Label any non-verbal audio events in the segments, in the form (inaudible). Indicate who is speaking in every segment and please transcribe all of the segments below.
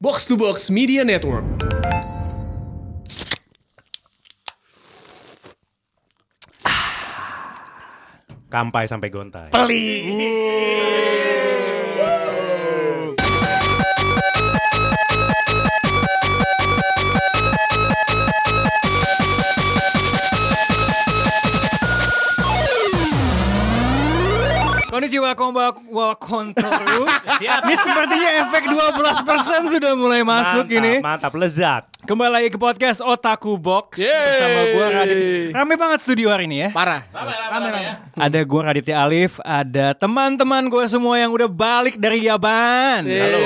Speaker 1: Box to Box Media Network.
Speaker 2: Kampai sampai gontai.
Speaker 3: Konnichiwa konba wa kontoru.
Speaker 2: (laughs)
Speaker 3: Ini sepertinya efek 12% sudah mulai masuk
Speaker 2: Mantap,
Speaker 3: ini.
Speaker 2: Mantap, lezat.
Speaker 3: Kembali lagi ke podcast Otaku Box
Speaker 1: Yeay.
Speaker 3: bersama gua Radit. Rame banget studio hari ini ya.
Speaker 1: Parah.
Speaker 3: Ada gua Raditya Alif, ada teman-teman gua semua yang udah balik dari Yaban.
Speaker 1: Halo.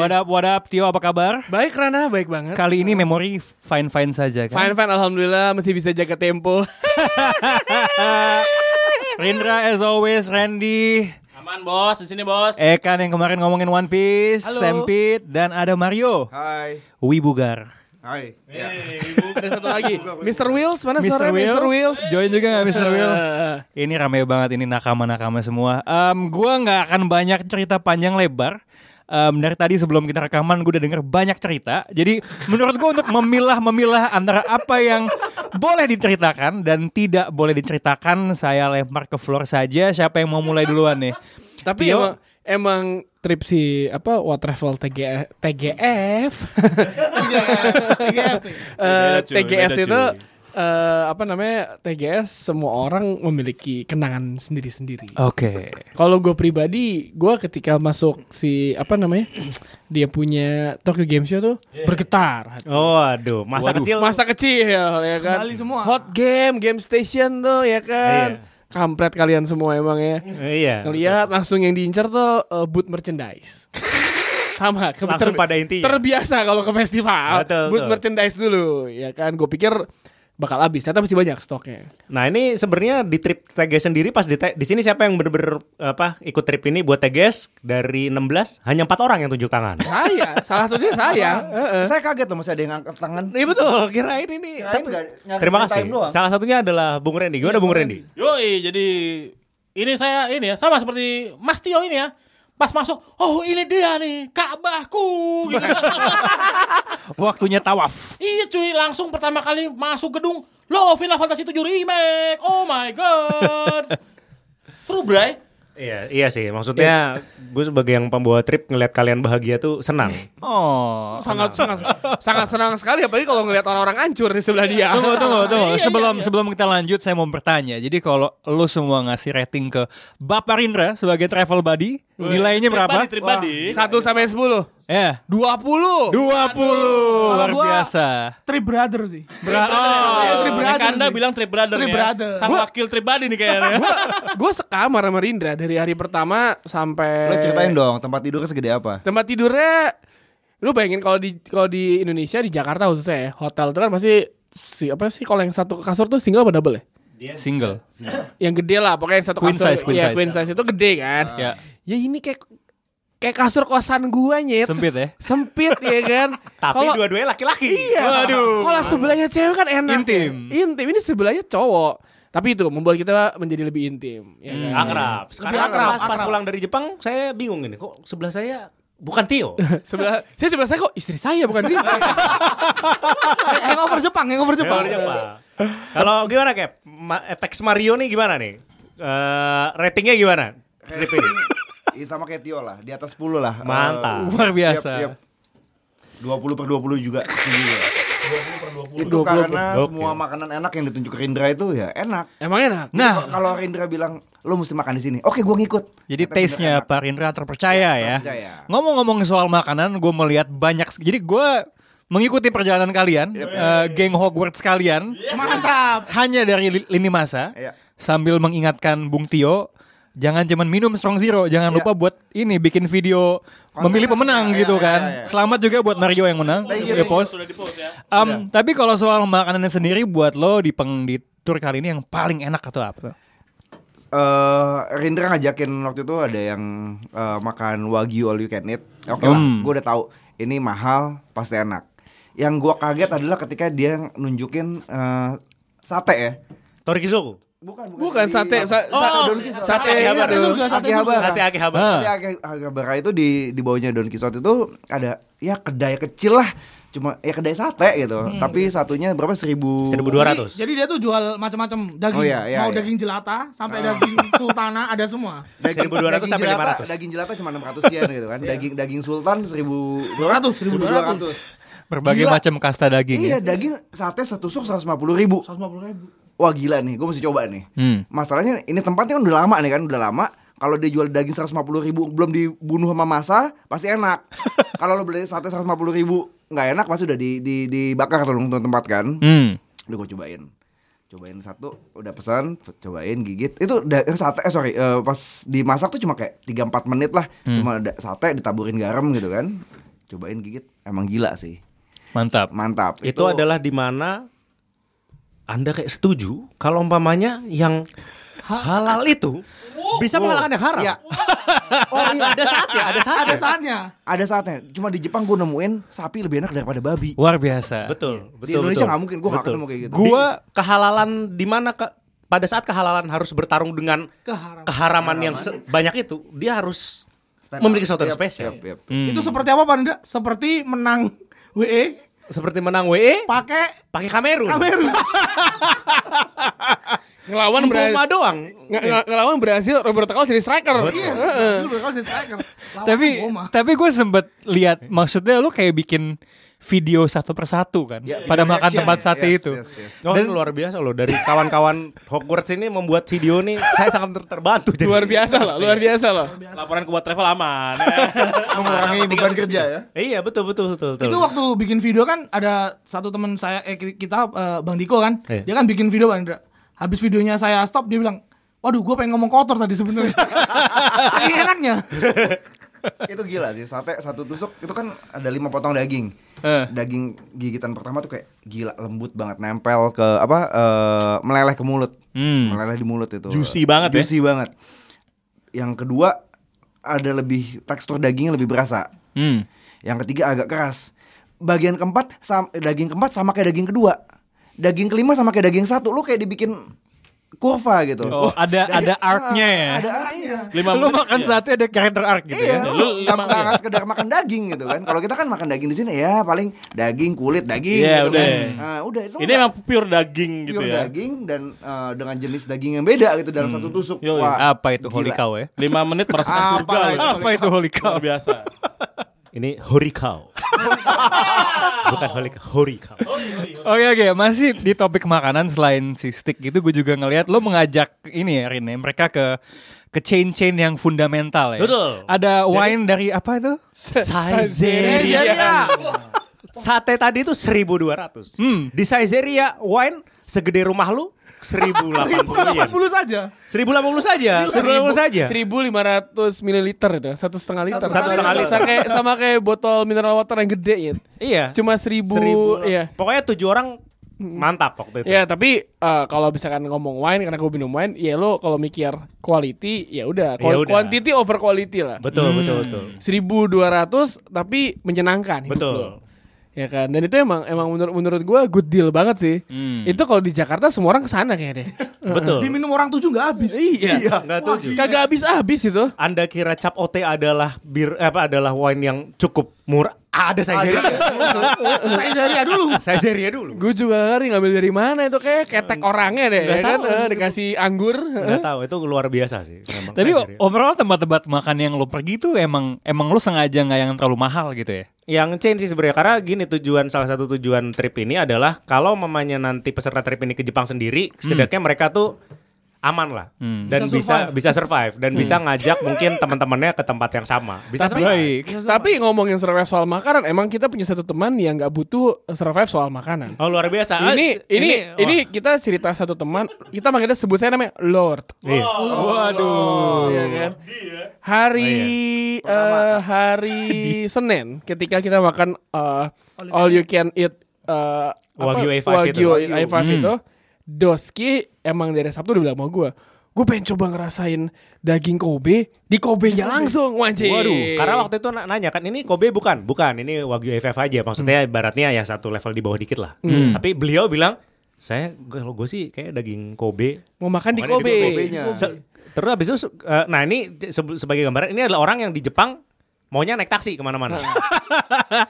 Speaker 3: What up, what up, Tio apa kabar?
Speaker 1: Baik Rana, baik banget.
Speaker 3: Kali ini memori fine-fine saja kan?
Speaker 1: Fine fine alhamdulillah masih bisa jaga
Speaker 3: (laughs)
Speaker 1: tempo.
Speaker 3: Rindra as always, Randy,
Speaker 4: Aman bos, di sini bos.
Speaker 3: Ekan yang kemarin ngomongin One Piece,
Speaker 1: Halo.
Speaker 3: Sempit, dan ada Mario,
Speaker 5: Hai.
Speaker 3: Wibugar.
Speaker 5: Hai. Ya.
Speaker 1: Ada satu lagi. Mr. Wills, mana
Speaker 3: Mr.
Speaker 1: suaranya
Speaker 3: Will.
Speaker 1: Mr. Wills?
Speaker 3: Join juga gak Mr. Will?
Speaker 1: Eh,
Speaker 3: Ini rame banget ini nakama-nakama semua. Em, gua nggak akan banyak cerita panjang lebar. Em, dari tadi sebelum kita rekaman gue udah denger banyak cerita. Jadi menurut gue untuk memilah-memilah antara apa yang boleh diceritakan dan tidak boleh diceritakan, saya lempar ke floor saja. Siapa yang mau mulai duluan nih?
Speaker 1: tapi
Speaker 3: Tio?
Speaker 1: emang, emang trip si apa What Travel TGF TGF Eh,
Speaker 2: Beda, cuy,
Speaker 1: TGS
Speaker 2: beda,
Speaker 1: itu
Speaker 2: cuy.
Speaker 1: eh, apa namanya TGS semua orang memiliki kenangan sendiri-sendiri.
Speaker 3: Oke.
Speaker 1: Kalau gue pribadi, gue ketika masuk si apa namanya dia punya Tokyo Game Show tuh bergetar. hati.
Speaker 2: Oh, aduh, masa kecil.
Speaker 1: Masa kecil ya kan. Hot game, game station tuh ya kan.
Speaker 2: Iya.
Speaker 1: Kampret kalian semua emang ya.
Speaker 2: Iya.
Speaker 1: Ngeliat langsung yang diincar tuh uh, booth
Speaker 2: (laughs)
Speaker 1: merchandise. Sama ke-
Speaker 2: Langsung pada intinya.
Speaker 1: Terbiasa kalau ke festival
Speaker 2: Betul,
Speaker 1: booth
Speaker 2: betul.
Speaker 1: merchandise dulu ya kan. Gue pikir bakal habis, ternyata masih banyak stoknya.
Speaker 2: Nah, ini sebenarnya di trip TGS sendiri pas di, te- di sini siapa yang bener-bener apa ikut trip ini buat TGS dari 16 hanya empat orang yang tunjuk tangan.
Speaker 1: Saya, salah satunya saya.
Speaker 6: (laughs)
Speaker 1: Heeh.
Speaker 5: Saya kaget loh masih ada yang angkat tangan.
Speaker 2: Iya betul, kirain ini.
Speaker 5: Kirain
Speaker 2: Tapi-
Speaker 5: nggak nyari
Speaker 2: terima
Speaker 5: free
Speaker 2: kasih.
Speaker 5: time doang.
Speaker 2: Salah satunya adalah Bung Randy. Gimana Bung Randy?
Speaker 4: Yoi, jadi ini saya ini ya sama seperti Mas Tio ini ya. Pas masuk, oh ini dia nih, Ka'bahku. Gitu.
Speaker 3: Waktunya tawaf.
Speaker 4: iya cuy, langsung pertama kali masuk gedung, loh Final Fantasy 7 remake. Oh my god. Seru bray.
Speaker 2: Iya, iya sih. Maksudnya gue sebagai yang pembawa trip ngelihat kalian bahagia tuh senang.
Speaker 3: Oh.
Speaker 1: sangat sangat sangat senang sekali apalagi kalau ngelihat orang-orang hancur di sebelah dia.
Speaker 3: Tunggu, tunggu, tunggu. Sebelum sebelum kita lanjut, saya mau bertanya. Jadi kalau lo semua ngasih rating ke Bapak Rindra sebagai travel buddy, nilainya berapa?
Speaker 4: Trip buddy, trip buddy.
Speaker 1: 1 sampai 10.
Speaker 3: Ya,
Speaker 1: 20.
Speaker 3: 20. Luar
Speaker 6: gua-
Speaker 3: biasa.
Speaker 6: Three brother
Speaker 1: (laughs)
Speaker 6: sih.
Speaker 3: Bra- oh.
Speaker 4: Iya,
Speaker 6: trip brother
Speaker 4: mereka Anda
Speaker 6: sih.
Speaker 4: bilang trip brother
Speaker 6: Trip
Speaker 4: nih ya.
Speaker 6: brother.
Speaker 4: Sang wakil trip buddy nih kayaknya.
Speaker 1: Gue sekamar sama Rindra dari hari pertama sampai
Speaker 5: Lo ceritain dong tempat tidurnya segede apa?
Speaker 1: Tempat tidurnya lu bayangin kalau di kalau di Indonesia di Jakarta khususnya ya, hotel itu kan pasti si apa sih kalau yang satu kasur tuh single apa double ya?
Speaker 3: Single.
Speaker 1: Yang gede lah pokoknya yang satu
Speaker 3: Queen
Speaker 1: kasur
Speaker 3: size, queen
Speaker 1: ya,
Speaker 3: size.
Speaker 1: queen size itu gede kan.
Speaker 2: Ah.
Speaker 3: Ya,
Speaker 1: Ya ini kayak kayak kasur kosan gua nyet.
Speaker 3: sempit ya.
Speaker 1: Sempit ya kan.
Speaker 2: (laughs) Tapi
Speaker 1: Kalau-
Speaker 2: dua-duanya laki-laki.
Speaker 1: Iya. Kalau sebelahnya cewek kan enak.
Speaker 3: Intim.
Speaker 1: ya. Intim. Ini sebelahnya cowok. Tapi itu membuat kita menjadi lebih intim. Ya kan?
Speaker 2: Hmm. Akrab. Sekarang
Speaker 6: Lebih akrab,
Speaker 2: pas, pas
Speaker 6: akrab.
Speaker 2: pulang dari Jepang saya bingung ini kok sebelah saya bukan Tio.
Speaker 1: (laughs) Sebelah, saya sebelah saya kok istri saya bukan dia. (laughs)
Speaker 6: hangover Jepang, hangover Jepang.
Speaker 2: Jepang, Jepang. Kalau gimana Cap? Ma- efek Mario nih gimana nih? Eh, ratingnya gimana? Trip ini.
Speaker 5: Iya sama kayak Tio lah, di atas 10 lah. Eh,
Speaker 2: Mantap.
Speaker 3: Luar biasa.
Speaker 5: Yap, yap. 20 per 20 juga. Tinggi ya. Itu
Speaker 1: 20.
Speaker 5: karena
Speaker 2: Oke.
Speaker 5: semua makanan enak yang ditunjuk Rindra itu ya enak.
Speaker 1: Emang enak.
Speaker 3: Nah,
Speaker 5: Kalau Rindra bilang lo mesti makan di sini, oke gua ngikut.
Speaker 3: Jadi
Speaker 5: Kata Rindra
Speaker 3: taste-nya
Speaker 5: enak.
Speaker 3: Pak Rindra terpercaya ya.
Speaker 5: Iya, Terpercaya.
Speaker 3: Ngomong-ngomong soal makanan, gue melihat banyak. sek- Jadi gue mengikuti perjalanan kalian,
Speaker 5: Iya,
Speaker 3: eh, geng Hogwarts kalian,
Speaker 6: Mantap.
Speaker 3: hanya dari li- lini masa,
Speaker 5: Iya.
Speaker 3: sambil mengingatkan Bung Tio, jangan cuman minum Strong Zero, jangan lupa buat ini bikin video memilih pemenang
Speaker 5: Iya,
Speaker 3: gitu
Speaker 5: iya,
Speaker 3: kan.
Speaker 5: iya, iya.
Speaker 3: Selamat juga buat Mario yang menang,
Speaker 5: Thank you,
Speaker 3: Dia
Speaker 5: Iya. thank you.
Speaker 3: post.
Speaker 4: Sudah di post ya.
Speaker 3: Um, tapi kalau soal makanannya sendiri, buat lo di peng di tour kali ini yang paling enak atau apa?
Speaker 5: eh Rindra ngajakin waktu itu ada yang eh, makan wagyu all you can eat. Oke lah,
Speaker 3: Hmm.
Speaker 5: gue udah tahu ini mahal pasti enak. Yang gua kaget adalah ketika dia nunjukin eh, sate ya.
Speaker 2: Torikizoku.
Speaker 5: Bukan,
Speaker 1: Bukan, sate- sa-
Speaker 5: oh,
Speaker 1: sa-
Speaker 5: Don Quixote.
Speaker 2: sate Akihabara.
Speaker 5: Sate
Speaker 6: surga, sate
Speaker 5: Akihabara.
Speaker 2: Sate Akihabara.
Speaker 5: Sate Aki- Akihabara itu di di bawahnya Don Quixote itu ada ya kedai kecil lah. Cuma ya kedai sate gitu. Tapi satunya berapa? Seribu.
Speaker 2: 1200.
Speaker 6: Jadi dia tuh jual macam-macam
Speaker 5: Oh,
Speaker 6: daging.
Speaker 5: iya, iya, iya.
Speaker 6: Mau
Speaker 5: Ah.
Speaker 6: daging jelata sampai daging sultana ada semua.
Speaker 5: Daging,
Speaker 2: 1200
Speaker 5: daging
Speaker 2: sampai
Speaker 5: jelata,
Speaker 2: 500.
Speaker 5: Daging jelata cuma 600 yen gitu kan. Daging daging sultan 1200.
Speaker 6: 200, 1200.
Speaker 3: Berbagai
Speaker 5: Gila.
Speaker 3: macam kasta daging
Speaker 5: Iya,
Speaker 3: ya.
Speaker 5: daging sate setusuk 150 ribu.
Speaker 6: 150 ribu.
Speaker 5: Wah gila nih, gue mesti coba nih.
Speaker 3: Hmm.
Speaker 5: Masalahnya ini tempatnya kan udah lama nih kan, udah lama. Kalau dia jual daging 150 ribu belum dibunuh sama masa, pasti
Speaker 3: (laughs)
Speaker 5: enak. Kalau lo beli sate 150 ribu nggak enak, pasti udah di, di, dibakar tuh tuh tempat kan.
Speaker 3: Hmm.
Speaker 5: Udah gue cobain, cobain satu, udah pesan, cobain gigit. Itu da- eh, sate, eh, sorry, eh, pas dimasak tuh cuma kayak 3-4 menit lah.
Speaker 3: Hmm.
Speaker 5: Cuma ada sate ditaburin garam gitu kan. Cobain gigit, emang gila sih,
Speaker 3: Mantap.
Speaker 5: mantap.
Speaker 2: itu, adalah di mana Anda kayak setuju kalau umpamanya yang halal itu bisa mengalahkan yang haram.
Speaker 5: Iya. Oh iya,
Speaker 2: Ada saatnya, Ya, ada saatnya.
Speaker 6: Ada saatnya.
Speaker 5: ada saatnya. Cuma di Jepang gue nemuin sapi lebih enak daripada babi.
Speaker 3: Luar biasa.
Speaker 2: Betul, betul.
Speaker 5: Iya. di Indonesia
Speaker 2: betul.
Speaker 5: nggak mungkin gue nggak
Speaker 2: Betul.
Speaker 5: ketemu kayak gitu.
Speaker 2: Gua kehalalan di mana ke- pada saat kehalalan harus bertarung dengan
Speaker 6: Keharaman.
Speaker 2: keharaman yang se- banyak itu, dia harus
Speaker 5: Stand up.
Speaker 2: memiliki sesuatu yang
Speaker 5: Yap,
Speaker 2: spesial.
Speaker 5: yap, yap.
Speaker 2: Hmm.
Speaker 6: Itu seperti apa Pak Nda? Seperti menang WE
Speaker 2: Seperti menang E, WE
Speaker 6: pakai
Speaker 2: pakai Kamerun.
Speaker 6: Kamerun.
Speaker 2: (laughs)
Speaker 1: Ngelawan
Speaker 2: Roma
Speaker 1: berhasil.
Speaker 2: doang.
Speaker 1: Ngelawan berhasil Roberto Carlos jadi striker.
Speaker 2: Iya.
Speaker 6: Dulu udah kasih striker. Lawan
Speaker 3: Tapi
Speaker 6: Obama.
Speaker 3: tapi gue sempet lihat maksudnya lu kayak bikin video satu persatu kan
Speaker 5: Ya,
Speaker 3: pada
Speaker 5: video
Speaker 3: makan
Speaker 5: reaction.
Speaker 3: tempat sate
Speaker 5: Yes,
Speaker 3: itu.
Speaker 5: yes, yes.
Speaker 2: Oh, Dan luar biasa loh dari kawan-kawan Hogwarts ini membuat video nih saya sangat ter- terbantu jadi.
Speaker 1: Luar biasa loh, luar biasa loh.
Speaker 4: Laporan ke buat travel aman.
Speaker 5: Mengurangi beban kerja ya.
Speaker 2: Iya betul betul betul. betul.
Speaker 6: Itu waktu bikin video kan ada satu teman saya eh ki- kita eh, Bang Diko kan.
Speaker 2: Iya.
Speaker 6: Dia kan bikin video Bang Indra. Habis videonya saya stop dia bilang, "Waduh, gue pengen ngomong kotor tadi
Speaker 2: (laughs)
Speaker 6: sebenarnya." Saking enaknya.
Speaker 5: itu gila sih sate satu tusuk itu kan ada lima potong daging.
Speaker 3: Eh.
Speaker 5: Daging gigitan pertama tuh kayak gila lembut banget nempel ke apa eh, meleleh ke mulut.
Speaker 3: Hmm.
Speaker 5: Meleleh di mulut itu.
Speaker 4: Juicy banget ya?
Speaker 5: Juicy banget. Yang kedua ada lebih tekstur dagingnya lebih berasa.
Speaker 3: Hmm.
Speaker 5: Yang ketiga agak keras. Bagian keempat sam- daging keempat sama kayak daging kedua. Daging kelima sama kayak daging satu. Lu kayak dibikin kurva gitu.
Speaker 3: Oh, ada- ada arc-nya ya?
Speaker 5: Ada arc-nya.
Speaker 4: Lima
Speaker 3: Lu
Speaker 4: menit,
Speaker 3: makan
Speaker 4: iya.
Speaker 3: sate ada karakter arc gitu
Speaker 5: Iya,
Speaker 3: ya.
Speaker 5: lu
Speaker 4: Lu
Speaker 5: nggak
Speaker 4: lima-
Speaker 5: nggak sekedar makan daging gitu kan. Kalau kita kan makan daging di sini ya paling daging kulit daging
Speaker 4: Iya,
Speaker 5: gitu
Speaker 4: udah.
Speaker 5: kan. Nah, udah itu
Speaker 4: Ini emang pure daging gitu
Speaker 5: pure
Speaker 4: ya.
Speaker 5: daging dan eh, dengan jenis daging yang beda gitu dalam satu tusuk.
Speaker 4: Yoi.
Speaker 3: Hmm. Apa itu holy
Speaker 5: gila.
Speaker 3: cow ya?
Speaker 4: Lima menit merasakan surga.
Speaker 5: Apa
Speaker 4: gitu.
Speaker 3: Apa itu holy cow?
Speaker 4: Luar biasa.
Speaker 2: Ini horikau. Bukan horikau, horikau.
Speaker 3: Oke oke, masih di topik makanan selain si stick gitu, gue juga ngelihat lo mengajak ini ya Rin ya, mereka ke ke chain-chain yang fundamental ya.
Speaker 2: Betul.
Speaker 3: Ada wine dari apa itu?
Speaker 2: Saizeria. Sate tadi itu 1200.
Speaker 3: Hmm.
Speaker 2: Di Saizeria wine segede rumah lu 1080 yen.
Speaker 6: 80 saja.
Speaker 2: 1080 saja, 1080 saja.
Speaker 1: 1500 mililiter itu, satu setengah liter.
Speaker 2: Satu setengah liter.
Speaker 1: Sama kayak, sama kayak botol mineral water yang gede ya.
Speaker 2: Iya.
Speaker 1: Cuma 1000
Speaker 2: Seribu-
Speaker 1: iya.
Speaker 2: Pokoknya tujuh orang mantap waktu itu.
Speaker 1: Ya, tapi eh, kalau misalkan ngomong wine karena gue minum wine, ya lo kalau mikir quality ya udah,
Speaker 2: Ya
Speaker 1: Qual-
Speaker 2: udah.
Speaker 1: quantity over quality lah.
Speaker 2: Betul,
Speaker 3: Mm.
Speaker 2: betul, betul.
Speaker 1: 1200 tapi menyenangkan hidup
Speaker 2: Betul.
Speaker 1: lo. Ya kan? Dan itu emang emang menurut menurut gua good deal banget sih. Itu kalau di Jakarta semua orang kesana
Speaker 2: (laughs)
Speaker 1: kayaknya deh.
Speaker 2: Betul.
Speaker 6: Diminum orang tujuh nggak habis.
Speaker 1: iya.
Speaker 2: Nggak tujuh.
Speaker 1: Kagak habis-habis
Speaker 2: (laughs)
Speaker 1: itu.
Speaker 2: Anda kira cap ote adalah bir eh, apa adalah wine yang cukup murah? Ah, Ada Saizeria.
Speaker 6: Saizeria dulu.
Speaker 2: Saizeria dulu.
Speaker 1: Gue juga nggak ngerti ngambil dari mana itu kayak ketek orangnya deh, ya
Speaker 2: Nggak
Speaker 1: kan?
Speaker 2: tahu.
Speaker 1: Eh, dikasih anggur. (laughs)
Speaker 2: Enggak tahu, itu luar biasa sih. memang
Speaker 3: Tapi
Speaker 1: ya.
Speaker 2: Saizeria.
Speaker 3: overall tempat-tempat makan yang lo pergi tuh emang emang lo sengaja nggak yang terlalu mahal gitu ya?
Speaker 2: yang chain sih sebenarnya karena gini tujuan salah satu tujuan trip ini adalah kalau mamanya nanti peserta trip ini ke Jepang sendiri
Speaker 1: Hmm.
Speaker 2: setidaknya mereka tuh aman lah dan bisa bisa survive, dan bisa
Speaker 1: Hmm.
Speaker 2: ngajak mungkin teman-temannya ke tempat yang sama bisa survive
Speaker 1: Tapi ngomongin survive soal makanan, emang kita punya satu teman yang nggak butuh survive soal makanan.
Speaker 2: oh luar biasa Ah,
Speaker 1: Ini ini
Speaker 2: wah.
Speaker 1: ini kita cerita satu teman, kita manggilnya sebut saya namanya Lord.
Speaker 2: Iya.
Speaker 1: Waduh. Iya kan? Hari eh, hari Senin ketika kita makan eh, all you can eat eh, apa?
Speaker 2: Wagyu A5 itu.
Speaker 1: Wagyu A5 itu, Doski emang dari Sabtu udah bilang sama gue Gue pengen coba ngerasain daging Kobe di Kobe-nya langsung wajib.
Speaker 2: Waduh, karena waktu itu na- nanya kan ini Kobe bukan,
Speaker 1: Hmm.
Speaker 2: bukan ini Wagyu FF aja. Maksudnya ibaratnya ya satu level di bawah dikit lah. Tapi beliau bilang saya kalau gue sih kayak daging Kobe.
Speaker 1: Mau makan di
Speaker 2: Pokoknya
Speaker 1: Kobe.
Speaker 2: daging
Speaker 5: Kobe-nya.
Speaker 2: Se- terus habis itu, se- eh, nah ini se- sebagai gambaran, ini adalah orang yang di Jepang maunya naik taksi kemana-mana.
Speaker 1: Nah.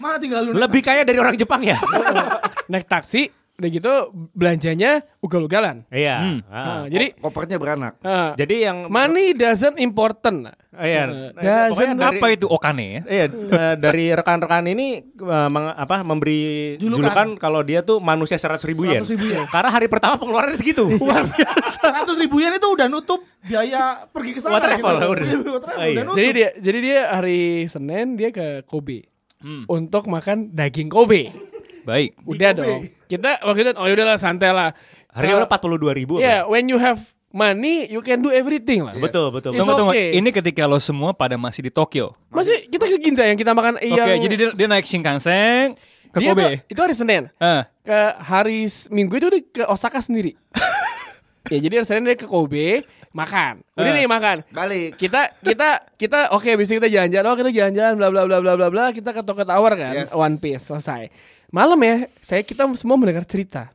Speaker 6: Mah tinggal lu.
Speaker 2: (laughs) Lebih kaya dari orang Jepang ya.
Speaker 1: (laughs) Naik taksi, udah gitu belanjanya ugal-ugalan.
Speaker 2: Iya.
Speaker 3: Hmm.
Speaker 2: ah.
Speaker 1: Nah, jadi
Speaker 5: Kopernya beranak.
Speaker 1: ah,
Speaker 2: Jadi yang
Speaker 1: money doesn't important. nah.
Speaker 2: Oh, iya.
Speaker 1: Doesn't-
Speaker 2: Pokoknya dari-
Speaker 3: Apa itu Okane ya?
Speaker 2: (laughs) Iya, eh, dari rekan-rekan ini eh, meng- apa memberi
Speaker 6: Julukan.
Speaker 2: julukan, kalau dia tuh manusia 100 ribu yen.
Speaker 6: 100.000 yen.
Speaker 2: Karena hari pertama pengeluarannya
Speaker 1: (laughs)
Speaker 2: segitu. Wah,
Speaker 6: Seratus ribuan itu udah nutup biaya pergi ke sana.
Speaker 2: Buat travel,
Speaker 6: gitu.
Speaker 2: udah.
Speaker 6: Buat travel,
Speaker 2: Oh, iya.
Speaker 6: udah nutup.
Speaker 1: Jadi dia jadi dia hari Senin dia ke Kobe.
Speaker 2: Hmm.
Speaker 1: Untuk makan daging Kobe.
Speaker 3: Baik.
Speaker 1: Udah dong. Kita waktu itu oh yaudahlah santai lah.
Speaker 2: hari
Speaker 1: Eh,
Speaker 2: udah 42 ribu.
Speaker 1: Ya, when you have money, you can do everything lah.
Speaker 2: Betul, betul.
Speaker 1: It's
Speaker 3: Tunggu tunggu.
Speaker 1: okay.
Speaker 3: Ini ketika lo semua pada masih di Tokyo.
Speaker 1: Masih kita ke Ginza yang kita makan
Speaker 3: Oke,
Speaker 1: yang
Speaker 3: jadi dia, dia naik Shinkansen ke
Speaker 1: Iya, dia
Speaker 3: Kobe.
Speaker 1: tuh- itu hari Senin.
Speaker 3: Ah,
Speaker 1: Ke hari S- Minggu itu dia ke Osaka
Speaker 3: (laughs)
Speaker 1: sendiri. ya, jadi hari Senin dia ke Kobe makan. Udah
Speaker 3: Eh.
Speaker 1: nih makan.
Speaker 5: Balik.
Speaker 3: (laughs)
Speaker 1: Kita kita kita oke besok kita jalan-jalan. Oh, kita jalan-jalan bla bla bla bla bla bla. Kita ke Tokyo Tower kan.
Speaker 5: Yes.
Speaker 1: One Piece selesai. Malam ya, saya kita semua mendengar cerita.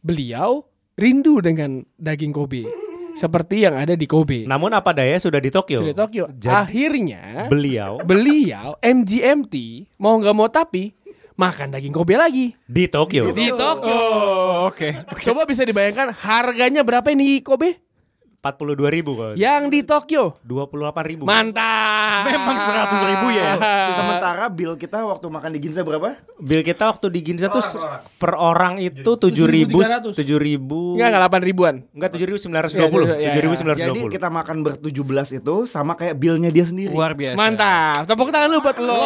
Speaker 1: Beliau rindu dengan daging Kobe. Seperti yang ada di Kobe.
Speaker 3: Nah,
Speaker 2: Namun apa daya sudah di
Speaker 3: iya.
Speaker 2: Tokyo.
Speaker 1: Iya. Sudah di Tokyo. ya.
Speaker 2: Jadi
Speaker 1: Akhirnya
Speaker 2: beliau
Speaker 1: beliau MGMT mau nggak mau tapi makan daging Kobe lagi
Speaker 2: di Tokyo.
Speaker 1: di Tokyo.
Speaker 3: Oh, oke.
Speaker 1: Coba bisa dibayangkan harganya berapa ini Kobe?
Speaker 2: 42 ribu kalau.
Speaker 1: Yang di Tokyo.
Speaker 2: 28 ribu.
Speaker 1: Mantap.
Speaker 3: Memang 100.000 ribu ya.
Speaker 5: Sementara bill kita waktu makan di Ginza berapa?
Speaker 2: Bil kita waktu di Ginza tuh se- per orang itu 7 ribu,
Speaker 6: 7.300.
Speaker 2: 7 ribu.
Speaker 1: Enggak enggak 8 ribuan.
Speaker 2: Enggak, 7.920.
Speaker 1: Iya, iya, iya.
Speaker 2: 7.920.
Speaker 5: Jadi kita makan ber-17 itu sama kayak billnya dia sendiri.
Speaker 3: Luar biasa.
Speaker 1: Mantap. Tepuk tangan lu buat lo.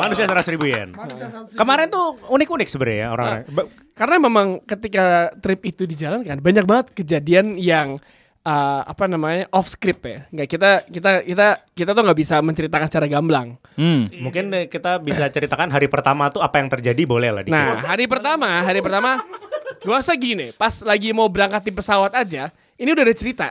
Speaker 2: manusia 100 ribu yen. Kemarin tuh unik-unik sebenarnya ya orang-orang. Ba-
Speaker 1: Karena memang ketika trip itu dijalankan banyak banget kejadian yang uh, apa namanya off script ya. Nggak kita kita kita kita tuh nggak bisa menceritakan secara gamblang.
Speaker 3: Hmm.
Speaker 2: Mungkin eh, kita bisa ceritakan hari pertama tuh apa yang terjadi boleh lah dikit.
Speaker 1: Nah, hari pertama, hari pertama gua rasa gini, pas lagi mau berangkat di pesawat aja, ini udah ada cerita.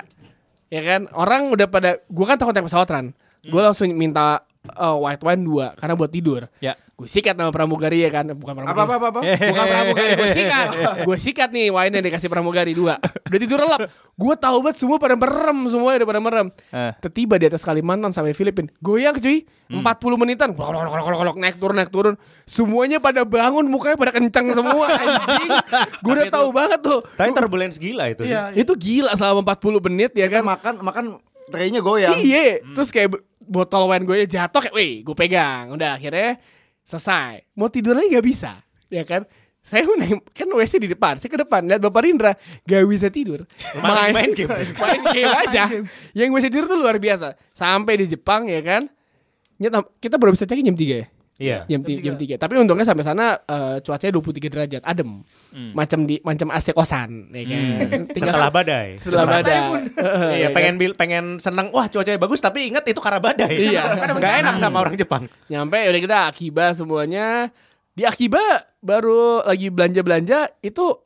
Speaker 1: Ya kan? Orang udah pada gua kan takut naik pesawat Ran.
Speaker 3: Hmm.
Speaker 1: Gua langsung minta uh, white wine dua karena buat tidur.
Speaker 3: Ya.
Speaker 1: Gue sikat sama pramugari ya kan, bukan pramugari.
Speaker 5: Apa apa apa? apa?
Speaker 1: Bukan pramugari, gue sikat. Gue sikat nih wine yang dikasih pramugari dua. Udah tidur lelap. Gue tahu banget semua pada merem, semua udah pada merem.
Speaker 3: Eh.
Speaker 1: Tiba di atas Kalimantan sampai Filipina. Goyang cuy, 40 menitan. Kolok, kolok, kolok, kolok, kolok, naik turun, naik turun. Semuanya pada bangun, mukanya pada kencang semua anjing. Gue udah tahu banget tuh.
Speaker 2: Tapi turbulence gila itu sih.
Speaker 1: Itu gila selama 40 menit ya
Speaker 5: Kan
Speaker 1: kan.
Speaker 5: makan makan traynya goyang.
Speaker 1: Iya,
Speaker 2: Hmm.
Speaker 1: terus kayak b- botol wine gue jatuh kayak, weh, gue pegang. Udah akhirnya selesai. Mau tidur lagi gak bisa, ya kan? Saya mau naik, kan WC di depan, saya ke depan lihat Bapak Rindra gak bisa tidur.
Speaker 2: Main- main game.
Speaker 1: (laughs) main game aja. Yang WC tidur tuh luar biasa. Sampai di Jepang ya kan? Nyet- Kita baru bisa cekin jam 3 ya?
Speaker 2: Iya.
Speaker 1: Jam, ti- jam 3. Tapi untungnya sampai sana eh, cuacanya 23 derajat, adem. Macam di macam AC kosan ya kan.
Speaker 2: Hmm.
Speaker 1: Tinggal
Speaker 2: Setelah badai.
Speaker 1: setelah badai. (laughs) Heeh,
Speaker 2: Iya,
Speaker 1: ya kan?
Speaker 2: pengen bil- pengen seneng. Wah, cuacanya bagus tapi ingat itu karena badai. Hmm.
Speaker 1: Iya.
Speaker 2: Enggak enak sama orang Jepang.
Speaker 1: Nyampe ya udah kita Akiba semuanya. Di Akiba baru lagi belanja-belanja itu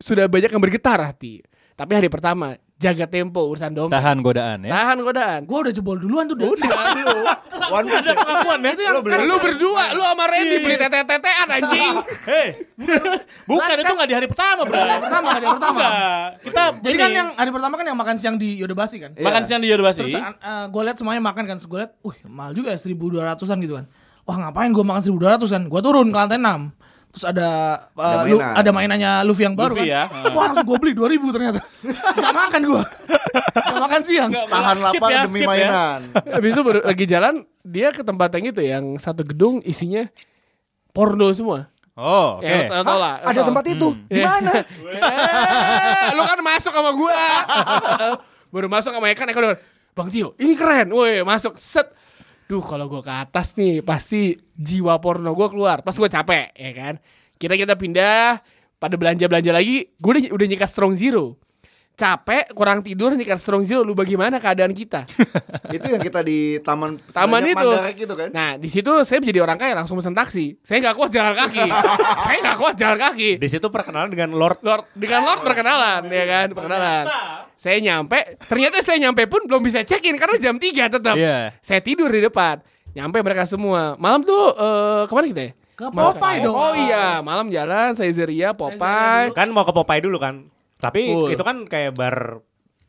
Speaker 1: sudah banyak yang bergetar hati. Tapi hari pertama jaga tempo urusan dompet.
Speaker 3: Tahan godaan ya.
Speaker 1: Tahan godaan.
Speaker 6: Gua udah jebol duluan tuh. Udah.
Speaker 5: One piece. ya?
Speaker 4: Nah,
Speaker 1: Itu yang kan lu berdua, lu sama
Speaker 4: Iya.
Speaker 1: Randy beli tete-tetean
Speaker 4: (laughs)
Speaker 1: anjing.
Speaker 4: Bukan itu nggak di hari pertama, Bro.
Speaker 6: Hari pertama, hari pertama.
Speaker 4: Enggak. Kita Iya.
Speaker 6: Jadi kan yang hari pertama kan yang makan siang di Yodobasi kan.
Speaker 4: makan siang di Yodobasi.
Speaker 6: Terus gue liat semuanya makan kan, gue liat, uh mahal juga ya 1200-an gitu kan. Wah ngapain gue makan 1200 kan? Gue turun ke lantai 6 Terus ada uh,
Speaker 5: Ada
Speaker 6: Lu-
Speaker 5: mainan.
Speaker 6: ada mainannya Luffy yang baru
Speaker 4: Luffy
Speaker 6: kan.
Speaker 4: ya.
Speaker 6: Wah langsung gue beli 2000 ternyata. Gak makan gue. Gak makan siang.
Speaker 5: Tahan
Speaker 4: Skip
Speaker 5: lapar
Speaker 4: ya,
Speaker 5: demi
Speaker 4: skip ya.
Speaker 5: mainan.
Speaker 1: Habis itu baru lagi jalan dia ke tempat yang itu yang satu gedung isinya porno semua.
Speaker 3: Oh, oke.
Speaker 1: Ya, tau, tau lah.
Speaker 5: Ada
Speaker 1: tau.
Speaker 5: tempat itu. Di mana?
Speaker 1: Eh, lu kan masuk sama gua. Baru masuk sama Eka, Eka udah, Bang Tio, ini keren. Woi, masuk. Set. Duh, kalau gua ke atas nih, pasti jiwa porno gua keluar. Pas gua capek, ya kan. Kita kita pindah, pada belanja-belanja lagi, gua udah, udah nyikat strong zero. Capek, kurang tidur, nyikat strong zero. Lu bagaimana keadaan kita?
Speaker 5: itu yang kita di taman
Speaker 1: Taman
Speaker 5: sebenarnya
Speaker 1: itu.
Speaker 5: Mandarik itu kan.
Speaker 1: Nah, di situ saya menjadi orang kaya langsung pesan taksi. Saya nggak kuat jalan kaki. saya nggak kuat jalan kaki.
Speaker 2: Di situ perkenalan dengan Lord
Speaker 1: Lord dengan Lord
Speaker 6: Iya.
Speaker 1: perkenalan ya kan perkenalan. Saya nyampe, ternyata saya nyampe pun belum bisa check in karena jam 3 tetap.
Speaker 3: Iya.
Speaker 1: Saya tidur di depan. Nyampe mereka semua. Malam tuh eh, kemana kita ya?
Speaker 6: Ke
Speaker 1: Makan.
Speaker 6: Popeye dong.
Speaker 1: Oh iya, malam jalan Saizeria, Popeye.
Speaker 2: Kan mau ke Popeye dulu kan. Tapi
Speaker 1: Full.
Speaker 2: itu kan kayak bar